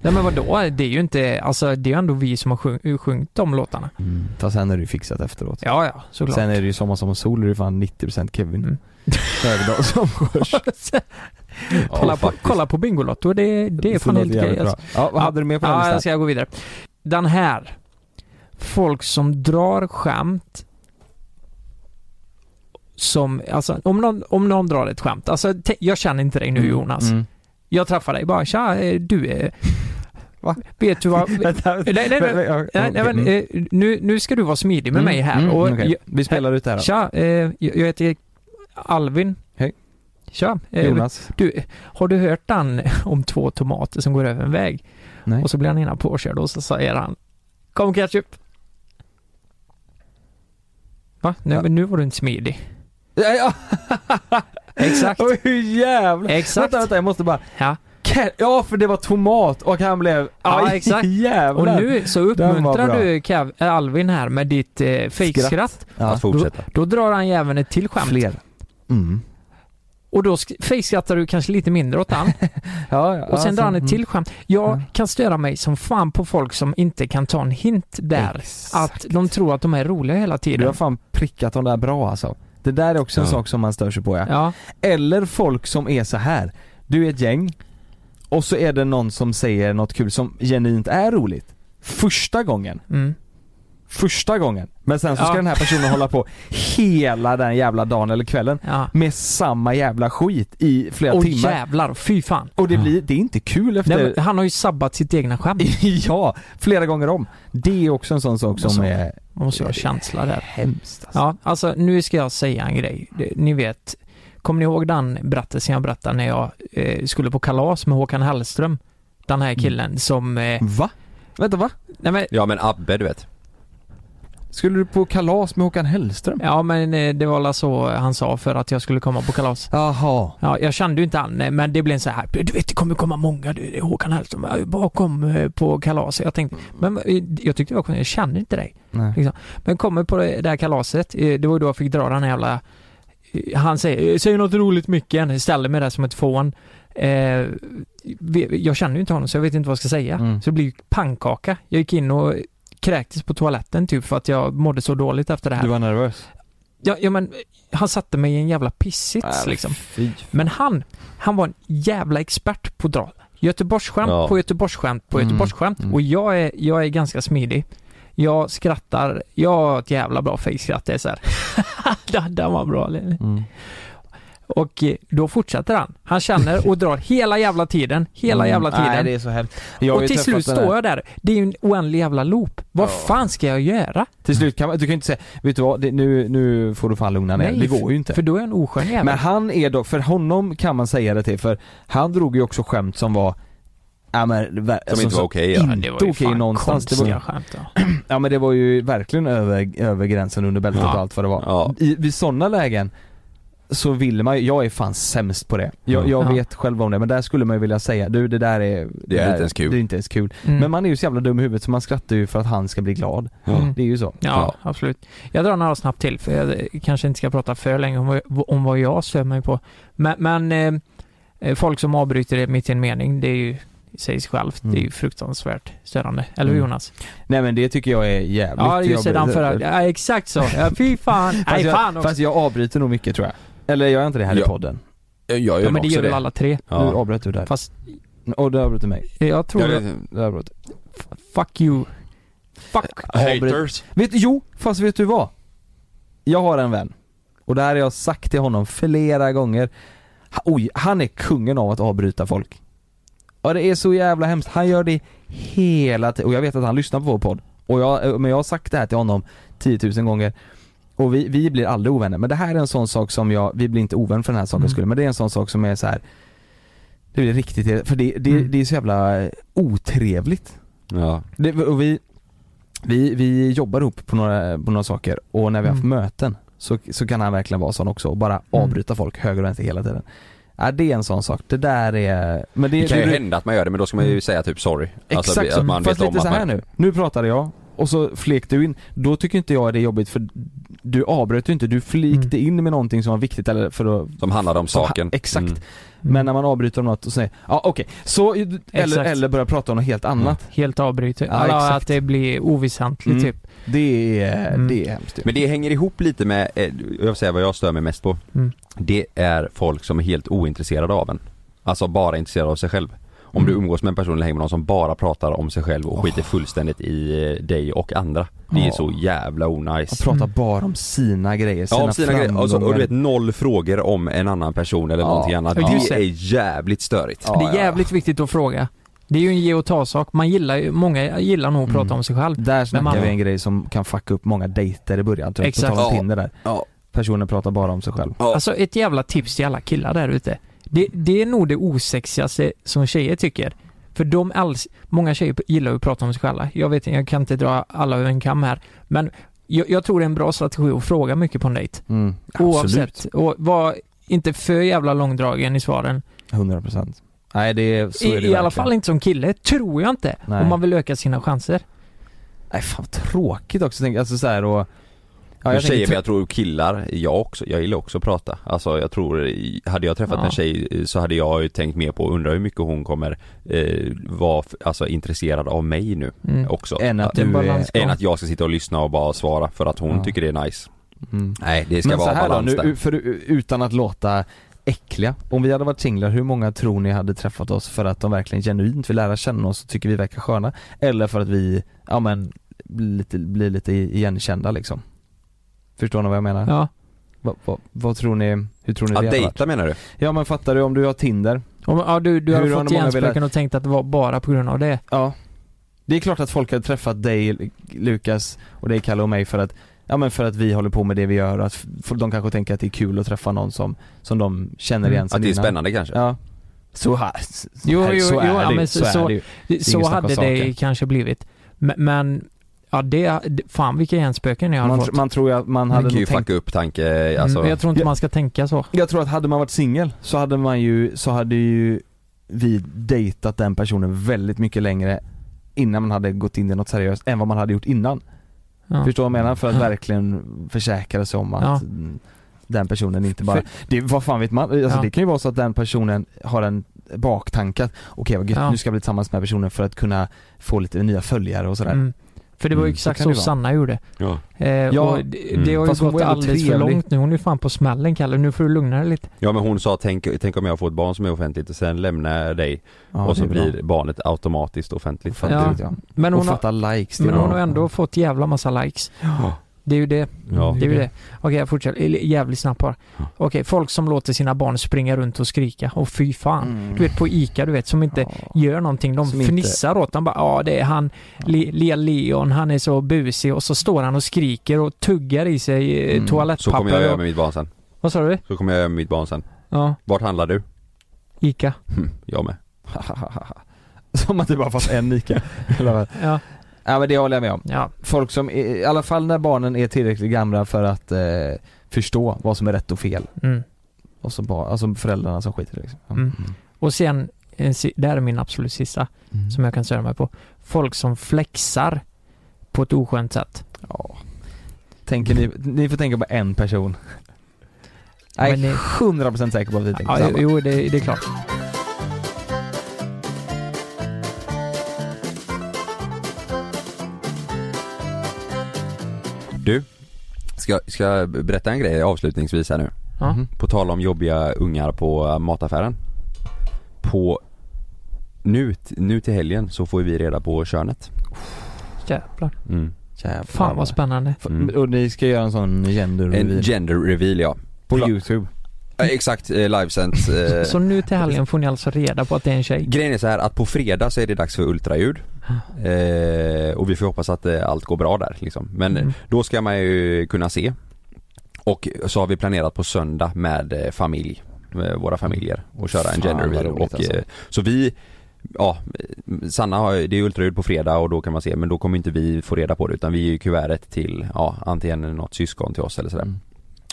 Speaker 1: Nej men vadå? Det är ju inte, alltså det är ju ändå vi som har sjung, sjungit de låtarna.
Speaker 2: Fast sen är det ju fixat efteråt.
Speaker 1: Ja, ja, såklart.
Speaker 2: Sen är det ju Sommar som sol, det är ju fan 90% Kevin
Speaker 1: Mm. [laughs]
Speaker 2: Högdahl [laughs] som sjörs.
Speaker 1: kolla, på,
Speaker 4: faktiskt.
Speaker 1: kolla på Bingolotto, det, det är fan
Speaker 2: låter
Speaker 1: helt
Speaker 2: jävligt
Speaker 1: grej alltså.
Speaker 2: bra. Ja, vad hade du med på den
Speaker 1: Ja,
Speaker 2: listan?
Speaker 1: jag ska gå vidare. Den här. Folk som drar skämt som, alltså om någon, om någon drar ett skämt, alltså te- jag känner inte dig nu Jonas.
Speaker 2: Mm.
Speaker 1: Jag träffar dig bara, tja, eh, du är...
Speaker 2: [laughs] Va?
Speaker 1: Vet du vad... nej,
Speaker 2: [laughs] Vänta,
Speaker 1: nej, nej, nej,
Speaker 2: Okej,
Speaker 1: nej, men,
Speaker 2: mm.
Speaker 1: eh, nu, nu ska du vara smidig med
Speaker 2: Mm,
Speaker 1: mig här.
Speaker 2: mm,
Speaker 1: och
Speaker 2: okej.
Speaker 1: jag,
Speaker 2: Vi spelar ut det här då.
Speaker 1: tja, eh, jag- jag heter Alvin.
Speaker 2: Hej.
Speaker 1: Tja, eh,
Speaker 2: Jonas?
Speaker 1: du, har du hört den [laughs] om två tomater som går över en väg?
Speaker 2: Nej.
Speaker 1: Och så blir han ena påkörd och så säger han Kom ketchup! Va? Nej
Speaker 2: Ja.
Speaker 1: men nu var du inte smidig.
Speaker 2: Ja, ja.
Speaker 1: [laughs] Exakt.
Speaker 2: [laughs] Oj, hur jävlar!
Speaker 1: Exakt.
Speaker 2: Vänta, vänta, jag måste bara...
Speaker 1: Ja.
Speaker 2: Ke- Ja, för det var tomat och han blev...
Speaker 1: Ja,
Speaker 2: Aj, [laughs]
Speaker 1: exakt. Och
Speaker 2: Jävlar!
Speaker 1: nu så
Speaker 2: var
Speaker 1: uppmuntrar
Speaker 2: bra.
Speaker 1: du Kev, äh, Alvin här med ditt eh, fejkskratt.
Speaker 2: Ja,
Speaker 4: Att fortsätta.
Speaker 1: Då drar han ju även ett till skämt.
Speaker 2: fler. Mm.
Speaker 1: Och då sk- fejkskrattar du kanske lite mindre åt han.
Speaker 2: [laughs] Ja, ja,
Speaker 1: Och sen
Speaker 2: alltså,
Speaker 1: drar han ett
Speaker 2: mm.
Speaker 1: till skämt. Jag
Speaker 2: Ja.
Speaker 1: kan störa mig som fan på folk som inte kan ta en hint där.
Speaker 2: Exakt.
Speaker 1: Att de tror att de är roliga hela
Speaker 2: Du har
Speaker 1: tiden.
Speaker 2: fan prickat de där bra alltså. Det där är också en
Speaker 4: Ja.
Speaker 2: sak som man stör sig på ja.
Speaker 1: Ja.
Speaker 2: Eller folk som är så här. Du är ett gäng och så är det någon som säger något kul som genuint är roligt. Första gången.
Speaker 1: Mm.
Speaker 2: Första gången. Men sen så ska
Speaker 1: Ja.
Speaker 2: den här personen hålla på hela den jävla dagen eller kvällen
Speaker 1: ja.
Speaker 2: med samma jävla skit i flera
Speaker 1: Och
Speaker 2: timmar.
Speaker 1: jävlar, fy fan.
Speaker 2: Och det blir, det är inte kul efter
Speaker 1: Nej, men han har ju sabbat sitt egna skämt.
Speaker 2: [laughs] Ja, flera gånger om. Det är också en sån sak
Speaker 1: Och så-
Speaker 2: som är
Speaker 1: Man måste ju ha känsla där.
Speaker 2: hemskt alltså.
Speaker 1: Ja, alltså nu ska jag säga en grej. Det- Ni vet, kommer ni ihåg den berättelsen jag berättade när jag eh, skulle på kalas med Håkan Hellström? Den här killen som... Eh,
Speaker 2: Mm. Va? Vänta va?
Speaker 1: nej men,
Speaker 4: Ja men Abbe du vet.
Speaker 2: Skulle du på kalas med Håkan Hellström?
Speaker 1: ja men eh, det var väl så han sa för att jag skulle komma på kalas.
Speaker 2: Jaha.
Speaker 1: Ja, jag kände ju inte han, eh, men det blev en så här, du vet det kommer komma många, du, det är Håkan Hellström, eh, bakom eh, på kalas. Jag tänkte,
Speaker 2: Mm.
Speaker 1: men eh, jag tyckte det var konstigt, jag känner inte dig.
Speaker 2: Nej.
Speaker 1: Liksom. Men kommer på det där kalaset, eh, det var då jag fick dra den här jävla... eh, Han säger, "Eh, säg något roligt Micken, ställer mig där som ett fån. Eh, vi- jag känner ju inte honom så jag vet inte vad jag ska säga.
Speaker 2: Mm.
Speaker 1: Så det blir ju pannkaka. Jag gick in och kräktes på toaletten typ för att jag mådde så dåligt efter det här.
Speaker 2: Du var nervös?
Speaker 1: Ja, ja men, han satte mig i en jävla pissits
Speaker 2: Äh,
Speaker 1: liksom.
Speaker 2: Fy.
Speaker 1: Men han, han var en jävla expert på att dra Göteborgsskämt
Speaker 4: Ja.
Speaker 1: på Göteborgsskämt på
Speaker 2: Mm,
Speaker 1: Göteborgsskämt.
Speaker 2: mm.
Speaker 1: Och jag är, jag är ganska smidig. Jag skrattar, jag har ett jävla bra fejkskratt. Det är så här. [laughs] Den- Den var bra. Lenny.
Speaker 2: Mm.
Speaker 1: Och eh, då fortsätter han. Han känner och drar hela jävla tiden, hela
Speaker 2: Mm.
Speaker 1: jävla tiden.
Speaker 2: Nej, det är så hemskt. Jag har
Speaker 1: och
Speaker 2: ju
Speaker 1: till
Speaker 2: träffat
Speaker 1: slut
Speaker 2: den här-
Speaker 1: står jag där. Det är ju en oändlig jävla loop. Vad fan ska jag göra?
Speaker 2: Till slut kan man, du kan ju inte säga, vet du vad, det, nu, nu får du fan lugna ner dig. Det
Speaker 1: för-
Speaker 2: går ju inte.
Speaker 1: För då är jag en oskön jävel.
Speaker 2: Men han är dock, för honom kan man säga det till, för han drog ju också skämt som var Ja men, ver-
Speaker 4: Som inte var okej ja.
Speaker 2: inte okej någonstans. Det
Speaker 1: konstiga
Speaker 2: var-
Speaker 1: skämt. Ja.
Speaker 2: ja men det var ju verkligen över, över gränsen under bältet
Speaker 1: Ja.
Speaker 2: och allt vad det var.
Speaker 4: Ja.
Speaker 2: I, vid sådana lägen så vill man ju, jag är fan sämst på det. Jag, jag
Speaker 1: Ja.
Speaker 2: vet själv om det men där skulle man ju vilja säga du det där är
Speaker 4: Det är
Speaker 2: där-
Speaker 4: inte ens kul.
Speaker 2: Det är inte ens kul.
Speaker 1: Mm.
Speaker 2: Men man är ju så jävla dum i huvudet så man skrattar ju för att han ska bli glad.
Speaker 1: Mm.
Speaker 2: Det är ju så.
Speaker 1: Ja, absolut. Jag drar några snabbt till för jag kanske inte ska prata för länge om, vad- om vad jag stör mig på. Men, men eh, eh, folk som avbryter det mitt i en mening, det är ju i sig självt,
Speaker 2: Mm.
Speaker 1: det är ju fruktansvärt störande. Eller hur
Speaker 2: Mm.
Speaker 1: Jonas?
Speaker 2: Nej men det tycker jag är jävligt
Speaker 1: Ja, just det, den förra. Ja, exakt så. Ja, fy fan.
Speaker 2: Fast,
Speaker 1: Nej, fan
Speaker 2: jag,
Speaker 1: också.
Speaker 2: fast jag avbryter nog mycket tror jag. Eller gör jag inte det här
Speaker 4: Ja.
Speaker 2: i podden?
Speaker 4: Jag gör
Speaker 1: Ja, men det
Speaker 4: också
Speaker 1: gör väl alla tre?
Speaker 2: Nu
Speaker 4: Ja.
Speaker 2: avbröt du där.
Speaker 1: Fast
Speaker 2: Och du avbröt du mig.
Speaker 1: jag tror...
Speaker 4: Ja,
Speaker 1: att-
Speaker 4: det-
Speaker 2: Du avbröt.
Speaker 1: Fuck you. Fuck.
Speaker 4: Haters.
Speaker 2: Vet, jo, fast vet du vad? Jag har en vän. Och det här har jag sagt till honom flera gånger. Ha- Oj, han är kungen av att avbryta folk. Ja det är så jävla hemskt. Han gör det hela tiden. Och jag vet att han lyssnar på vår podd. Och jag, eh, men jag har sagt det här till honom 10 000 gånger. Och vi, vi blir aldrig ovänner. Men det här är en sån sak som jag, vi blir inte ovänner för den här sakens
Speaker 1: Mm.
Speaker 2: skull. Men det är en sån sak som är så här. Det blir riktigt, för det, det,
Speaker 1: Mm.
Speaker 2: det är så jävla eh, otrevligt.
Speaker 4: Ja.
Speaker 2: Det, och vi, vi, vi jobbar ihop på några, på några saker och när vi har haft
Speaker 1: Mm.
Speaker 2: möten så, så kan han verkligen vara sån också och bara avbryta folk höger och vänster hela tiden. Ja, det är en sån sak. Det där är... Men det,
Speaker 4: Det kan ju
Speaker 2: det-
Speaker 4: hända att man gör det men då ska man ju säga typ sorry.
Speaker 2: Exakt
Speaker 4: alltså,
Speaker 2: så.
Speaker 4: att man
Speaker 2: Fast
Speaker 4: vet om
Speaker 2: lite
Speaker 4: att
Speaker 2: så här
Speaker 4: man...
Speaker 2: nu. Nu pratade jag och så flek du in. Då tycker inte jag det är jobbigt för du avbröt ju inte. Du flikte
Speaker 4: Mm.
Speaker 2: in med någonting som var viktigt eller för att
Speaker 4: Som handlar om saken.
Speaker 2: Exakt.
Speaker 4: Mm.
Speaker 2: Men när man avbryter om något och säger ja okej, så eller,
Speaker 1: Exakt.
Speaker 2: eller börjar prata om något helt
Speaker 4: Mm.
Speaker 2: annat.
Speaker 1: Helt avbryter.
Speaker 2: Ja,
Speaker 1: Eller
Speaker 2: exakt.
Speaker 1: att det blir oväsentligt
Speaker 2: Mm.
Speaker 1: typ.
Speaker 2: Det, är,
Speaker 1: Mm.
Speaker 2: det är hemskt ju.
Speaker 4: Men det hänger ihop lite med, eh, jag vill säga vad jag stör mig mest på.
Speaker 1: Mm.
Speaker 4: Det är folk som är helt ointresserade av en. Alltså bara intresserade av sig själv. Om
Speaker 1: Mm.
Speaker 4: du umgås med en person eller hänger med någon som bara pratar om sig själv och skiter fullständigt i eh, dig och andra. Det är
Speaker 2: Ja.
Speaker 4: så jävla
Speaker 2: Han
Speaker 4: onajs.
Speaker 2: pratar
Speaker 1: Mm.
Speaker 2: bara om sina grejer, sina,
Speaker 4: Ja, om sina grejer. Alltså, och du
Speaker 2: framgångar.
Speaker 4: vet noll frågor om en annan person eller
Speaker 2: Ja.
Speaker 4: någonting annat.
Speaker 1: Ja, just
Speaker 4: Det
Speaker 1: det.
Speaker 4: är jävligt störigt.
Speaker 2: Ja,
Speaker 1: det
Speaker 2: ja,
Speaker 1: är
Speaker 2: ja.
Speaker 1: jävligt viktigt att fråga. Det är ju en ge och ta-sak. Man gillar ju, många gillar nog att prata
Speaker 2: Mm.
Speaker 1: om sig själv.
Speaker 2: Där snackar
Speaker 1: man-
Speaker 2: vi en grej som kan fucka upp många dejter i början, tror jag.
Speaker 1: Exakt.
Speaker 2: På tal om
Speaker 4: Ja.
Speaker 2: Tinder där.
Speaker 4: Ja.
Speaker 2: Personen pratar bara om sig själv.
Speaker 4: Ja.
Speaker 1: Alltså ett jävla tips till alla killar där ute. Det, det är nog det osexigaste som tjejer tycker. För de alls, många tjejer gillar ju att prata om sig själva. Jag vet inte, jag kan inte dra alla över en kam här. Men jag, jag tror det är en bra strategi att fråga mycket på en dejt.
Speaker 2: Mm.
Speaker 1: Oavsett. Och var inte för jävla långdragen i svaren.
Speaker 2: 100 procent. Nej det är, så
Speaker 1: I,
Speaker 2: är det
Speaker 1: I alla
Speaker 2: verkligen.
Speaker 1: fall inte som kille, tror jag inte.
Speaker 2: Nej.
Speaker 1: Om man vill öka sina chanser.
Speaker 2: Nej fan vad tråkigt också, tänk, alltså så här och...
Speaker 4: Ja, jag tjejer,
Speaker 2: tänker-
Speaker 4: men jag tror killar, jag också, jag gillar också att prata. Alltså jag tror, hade jag träffat
Speaker 1: Ja.
Speaker 4: en tjej eh, så hade jag ju tänkt mer på, undrar hur mycket hon kommer eh, vara f- alltså, intresserad av mig nu
Speaker 1: Mm.
Speaker 4: också.
Speaker 2: Än att
Speaker 1: Det är en
Speaker 2: du är...
Speaker 1: balansgång.
Speaker 4: Än att jag ska sitta och lyssna och bara svara för att hon
Speaker 2: Ja.
Speaker 4: tycker det är nice.
Speaker 2: Mm.
Speaker 4: Nej, det ska
Speaker 2: Men så
Speaker 4: vara
Speaker 2: här då,
Speaker 4: balans
Speaker 2: nu,
Speaker 4: där.
Speaker 2: för, utan att låta äckliga. Om vi hade varit singlar, hur många tror ni hade träffat oss för att de verkligen genuint vill lära känna oss och tycker vi verkar sköna? Eller för att vi, ja men, blir lite, blir lite igenkända liksom? Förstår ni vad jag menar?
Speaker 1: Ja.
Speaker 2: Vad, vad, vad tror ni, hur tror ni
Speaker 4: Att
Speaker 2: det hade varit?
Speaker 4: dejta menar du?
Speaker 2: Ja men fattar du, om du har Tinder,
Speaker 1: Om, ja du, du
Speaker 2: Hur
Speaker 1: har
Speaker 2: har
Speaker 1: fått
Speaker 2: många
Speaker 1: hjärnspöken och tänkt att det var bara på grund av det.
Speaker 2: Ja Det är klart att folk har träffat dig Lukas och dig Kalle och mig för att Ja men för att vi håller på med det vi gör och att f- de kanske tänker att det är kul att träffa någon som, som de känner igen
Speaker 1: Mm,
Speaker 2: sen
Speaker 4: Att det är
Speaker 2: innan.
Speaker 4: spännande kanske?
Speaker 2: Ja Så här,
Speaker 1: Jo,
Speaker 2: här-
Speaker 1: jo,
Speaker 2: så är
Speaker 1: jo,
Speaker 2: det
Speaker 1: ja,
Speaker 2: ju,
Speaker 1: men
Speaker 2: så,
Speaker 1: så-
Speaker 2: är det ju.
Speaker 1: Det,
Speaker 2: ingen
Speaker 1: så
Speaker 2: snack
Speaker 1: hade
Speaker 2: om
Speaker 1: det
Speaker 2: saken.
Speaker 1: kanske blivit. Men, men ja det, det- fan vilka hjärnspöken jag har
Speaker 2: Man,
Speaker 1: fått.
Speaker 2: tr- man tror ju att man
Speaker 4: Man
Speaker 2: hade
Speaker 4: kan ju
Speaker 2: nog tänkt
Speaker 4: fucka upp tanke, alltså.
Speaker 1: mm, jag tror inte
Speaker 2: Ja.
Speaker 1: man ska tänka så.
Speaker 2: Jag tror att hade man varit singel så hade man ju, så hade ju vi dejtat den personen väldigt mycket längre innan man hade gått in i något seriöst än vad man hade gjort innan.
Speaker 1: Ja.
Speaker 2: Förstår du vad jag menar? För att
Speaker 1: Ja.
Speaker 2: verkligen försäkra sig om att
Speaker 1: Ja.
Speaker 2: mm, den personen inte bara,
Speaker 1: För-
Speaker 2: det, vad fan vet man? Alltså
Speaker 1: Ja.
Speaker 2: det kan ju vara så att den personen har en baktanke att okej vad gött,
Speaker 1: Ja.
Speaker 2: nu ska jag bli tillsammans med den här personen för att kunna få lite nya följare och sådär.
Speaker 1: Mm. För det var ju
Speaker 4: Mm, så
Speaker 1: exakt
Speaker 2: kan
Speaker 1: så,
Speaker 2: det vara.
Speaker 1: Sanna gjorde.
Speaker 4: Ja.
Speaker 1: Eh,
Speaker 2: Ja,
Speaker 1: och det,
Speaker 4: mm.
Speaker 1: det har ju
Speaker 2: Fast hon var
Speaker 1: gått
Speaker 2: ändå
Speaker 1: alldeles för
Speaker 2: trevlig.
Speaker 1: långt nu. Hon är ju fan på smällen Kalle. Nu får du lugna dig lite.
Speaker 4: ja men hon sa tänk, tänk om jag får ett barn som är offentligt och sen lämnar jag dig
Speaker 2: Ja,
Speaker 4: och
Speaker 2: det
Speaker 4: så
Speaker 2: är bra.
Speaker 4: blir barnet automatiskt offentligt. för att
Speaker 1: Ja.
Speaker 2: ja.
Speaker 4: du-
Speaker 1: Men
Speaker 2: Och
Speaker 1: hon, har,
Speaker 2: fatta likes, det är
Speaker 1: men
Speaker 2: bra.
Speaker 1: hon har ändå fått jävla massa likes.
Speaker 4: Ja.
Speaker 1: Det är ju det.
Speaker 4: Ja.
Speaker 1: Det är ju det. Okej, jag fortsätter. Eller, Jävligt snabbt bara.
Speaker 4: Ja.
Speaker 1: Okej, folk som låter sina barn springa runt och skrika. Och fy fan. Du vet på ICA, du vet, som inte
Speaker 2: Mm. Ja.
Speaker 1: gör någonting. De
Speaker 2: Som inte-
Speaker 1: fnissar åt dem bara, ja det är han, Le- Le- Leon, han är så busig och så står han och skriker och tuggar i sig eh,
Speaker 2: Mm, så
Speaker 4: Så kommer jag
Speaker 1: toalettpapper.
Speaker 4: göra
Speaker 1: Och,
Speaker 4: med mitt barn sen.
Speaker 1: vad sa du?
Speaker 4: Så kommer jag göra med mitt barn sen.
Speaker 1: Ja,
Speaker 4: Vart handlar du?
Speaker 1: ICA.
Speaker 4: Hm, Jag med.
Speaker 2: Som att det bara fanns en Ica. Eller-
Speaker 1: Ja,
Speaker 2: ja men det håller jag med om.
Speaker 1: ja.
Speaker 2: Folk som, i alla fall när barnen är tillräckligt gamla för att eh, förstå vad som är rätt och fel.
Speaker 1: Mm.
Speaker 2: och så bara, alltså föräldrarna som skiter i det liksom. Ja.
Speaker 1: Mm. Och sen, eh, si- det här är min absolut sista
Speaker 2: Mm.
Speaker 1: som jag kan störa mig på. Folk som flexar på ett oskönt sätt.
Speaker 2: Ja. Tänker ni, ni får tänka på en person. Jag
Speaker 1: Men det-
Speaker 2: är 100% säker på att vi tänker på
Speaker 1: Ja,
Speaker 2: samma.
Speaker 1: jo, det, det är klart.
Speaker 4: Du, ska, ska jag berätta en grej avslutningsvis här nu?
Speaker 1: Ja.
Speaker 2: Mm.
Speaker 4: På tal om jobbiga ungar på äh, mataffären. På nu, t- nu till helgen så får vi reda på könet.
Speaker 1: Jävlar.
Speaker 4: Mm.
Speaker 2: Jävlar.
Speaker 1: Fan vad spännande.
Speaker 4: Mm.
Speaker 2: Och ni ska göra en sån gender
Speaker 4: En
Speaker 2: reveal.
Speaker 4: gender reveal ja.
Speaker 2: på
Speaker 4: Pla-
Speaker 2: youtube.
Speaker 4: Ja, Exakt, eh, livesänt.
Speaker 2: [laughs]
Speaker 4: eh.
Speaker 1: Så nu till helgen får ni alltså reda på att det är en tjej?
Speaker 4: Grejen är så här att på fredag så är det dags för ultraljud.
Speaker 2: Ah.
Speaker 4: Eh, och vi får hoppas att eh, allt går bra där liksom. Men
Speaker 1: Mm.
Speaker 4: då ska man ju kunna se. Och så har vi planerat på söndag med eh, familj, med våra familjer och köra
Speaker 2: Fan,
Speaker 4: en gender
Speaker 2: vad
Speaker 4: reveal.
Speaker 2: roligt
Speaker 4: Och,
Speaker 2: alltså.
Speaker 4: eh, Så vi, ja, eh, Sanna har ju- det är ultraljud på fredag och då kan man se men då kommer inte vi få reda på det utan vi ger ju kuvertet till, ja, antingen något syskon till oss eller sådär.
Speaker 2: Mm.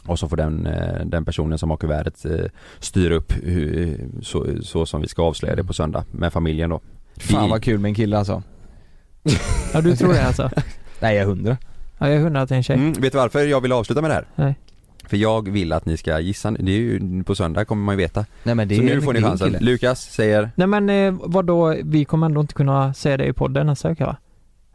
Speaker 4: Och så får den, eh, den personen som har kuvertet eh, styra upp hur, så, så som vi ska avslöja det på söndag med familjen då.
Speaker 2: Fan
Speaker 4: I-
Speaker 2: vad kul med en kille alltså.
Speaker 1: Ja, du tror det alltså?
Speaker 2: Nej jag är hundra.
Speaker 1: Ja, jag undrar att det är en tjej.
Speaker 4: Mm, vet du varför jag vill avsluta med det här?
Speaker 1: Nej.
Speaker 4: För jag vill att ni ska gissa nu. det är ju, på söndag kommer man ju veta.
Speaker 2: Nej men det
Speaker 4: så
Speaker 2: är
Speaker 4: nu får ni
Speaker 2: det är en
Speaker 4: chansen.
Speaker 2: kille.
Speaker 4: Lukas säger
Speaker 1: Nej men eh, vadå, vi kommer ändå inte kunna säga det i podden nästa vecka va?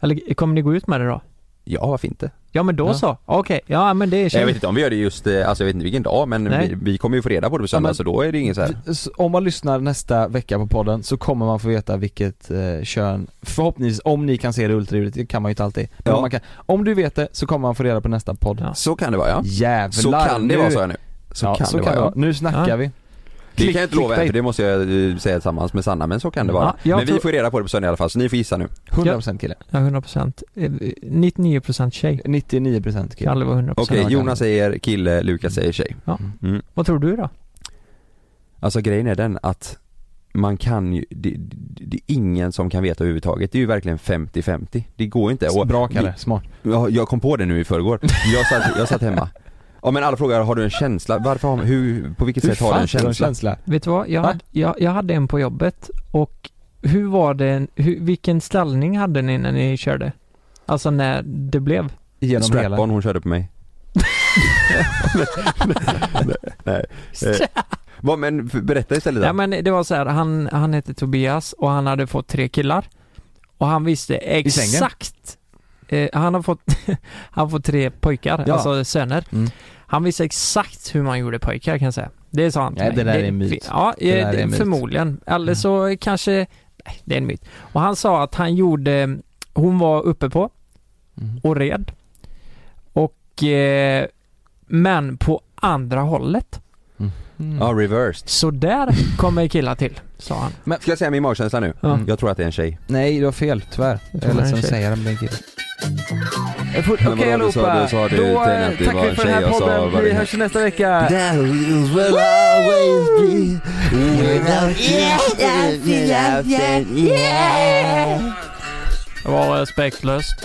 Speaker 1: Eller kommer ni gå ut med det då?
Speaker 4: ja varför inte?
Speaker 1: Ja men då
Speaker 2: Ja.
Speaker 1: så, okej, ja men det är
Speaker 4: Jag vet
Speaker 1: tjej.
Speaker 4: inte om vi gör det just, eh, alltså jag vet inte vilken dag men
Speaker 1: Nej.
Speaker 4: vi, vi kommer ju få reda på det på söndag
Speaker 2: Ja, men-
Speaker 4: så då är det ingen så här.
Speaker 2: Så Om man lyssnar nästa vecka på podden så kommer man få veta vilket eh, kön, förhoppningsvis, om ni kan se det ultraljudet, det kan man ju inte alltid. Men
Speaker 4: Ja.
Speaker 2: om, man kan, om du vet det så kommer man få reda på nästa podd.
Speaker 1: Ja.
Speaker 4: Så kan det vara ja.
Speaker 2: Jävlar
Speaker 4: Så kan det
Speaker 2: nu.
Speaker 4: vara sa jag nu. Så
Speaker 2: ja,
Speaker 4: kan
Speaker 2: så
Speaker 4: det
Speaker 2: kan
Speaker 4: vara
Speaker 2: det
Speaker 4: ja.
Speaker 2: vara. Nu snackar
Speaker 1: Ja.
Speaker 2: vi.
Speaker 4: Det
Speaker 2: Klick-
Speaker 4: kan jag inte lova än
Speaker 2: clickbait.
Speaker 4: för det måste jag eh, säga tillsammans med Sanna men så kan det vara.
Speaker 1: Ja, jag
Speaker 4: men vi
Speaker 1: tror-
Speaker 4: får reda på det på söndag i alla fall så ni får gissa nu.
Speaker 2: 100% kille.
Speaker 1: Ja, 100%. Eh, 99% tjej.
Speaker 2: 99%
Speaker 1: Kan
Speaker 2: kille.
Speaker 1: aldrig vara 100%
Speaker 4: Okej,
Speaker 2: var
Speaker 4: Jonas
Speaker 2: det.
Speaker 4: säger kille, Lukas säger tjej.
Speaker 1: Ja.
Speaker 4: Mm.
Speaker 1: Vad tror du då?
Speaker 4: Alltså grejen är den att man kan ju, det, det, det är ingen som kan veta överhuvudtaget. Det är ju verkligen 50-50. Det går inte. Och
Speaker 2: Bra Kalle, smart.
Speaker 4: Jag, jag kom på det nu i förrgår. Jag satt, jag
Speaker 2: [laughs]
Speaker 4: satt hemma. Ja men alla frågar, har du en känsla? Varför har, hur, på vilket
Speaker 2: Hur
Speaker 4: sätt har du
Speaker 2: fan
Speaker 4: en
Speaker 2: får du
Speaker 4: känsla?
Speaker 2: en känsla?
Speaker 1: Vet du vad? Jag,
Speaker 2: Va?
Speaker 1: hade, jag, jag hade en på jobbet och hur var det, hur, vilken ställning hade ni när ni körde? Alltså när det blev?
Speaker 2: Genom hela.
Speaker 4: Strap-on hon körde
Speaker 2: [laughs]
Speaker 4: på mig. Nej. Eh, vad, men f- berätta istället
Speaker 1: Ja
Speaker 4: då.
Speaker 1: men det var så här, han, han hette Tobias och han hade fått tre killar. Och han visste
Speaker 2: sängen?
Speaker 1: exakt. Eh, han har fått, [laughs] han har fått tre pojkar,
Speaker 2: Ja.
Speaker 1: alltså söner.
Speaker 2: Mm.
Speaker 1: Han visste exakt hur man gjorde pojkar kan jag säga. Det sa han till
Speaker 2: Nej,
Speaker 1: mig.
Speaker 2: det där är en myt.
Speaker 1: Ja,
Speaker 2: Det där
Speaker 1: eh,
Speaker 2: är en myt. Mm.
Speaker 1: förmodligen. Eller så kanske, nej, det är en myt. Och han sa att han gjorde, hon var uppe på
Speaker 2: Mm.
Speaker 1: och red. Och, eh, men på andra hållet.
Speaker 2: Mm.
Speaker 4: Ja, reversed.
Speaker 1: Så där kommer killar till, sa han.
Speaker 4: Ska jag säga min magkänsla nu?
Speaker 1: Ja.
Speaker 4: Jag tror att det är en tjej.
Speaker 2: Nej, du har fel, tyvärr.
Speaker 1: Jag tror
Speaker 2: Jag
Speaker 1: det är en
Speaker 2: är ledsen att
Speaker 1: tjej.
Speaker 2: säga det, men det är en kille.
Speaker 4: Men vadå,
Speaker 2: Okej
Speaker 4: du sa-
Speaker 2: allihopa,
Speaker 4: du sa det
Speaker 2: då
Speaker 4: till henne
Speaker 2: eh,
Speaker 4: att det
Speaker 2: tackar
Speaker 4: var
Speaker 2: vi
Speaker 4: en
Speaker 2: för den
Speaker 4: tjej,
Speaker 2: här
Speaker 4: jag sa
Speaker 2: podden.
Speaker 4: vad
Speaker 2: Vi
Speaker 4: det-
Speaker 2: hörs nästa vecka.
Speaker 1: Det var respektlöst.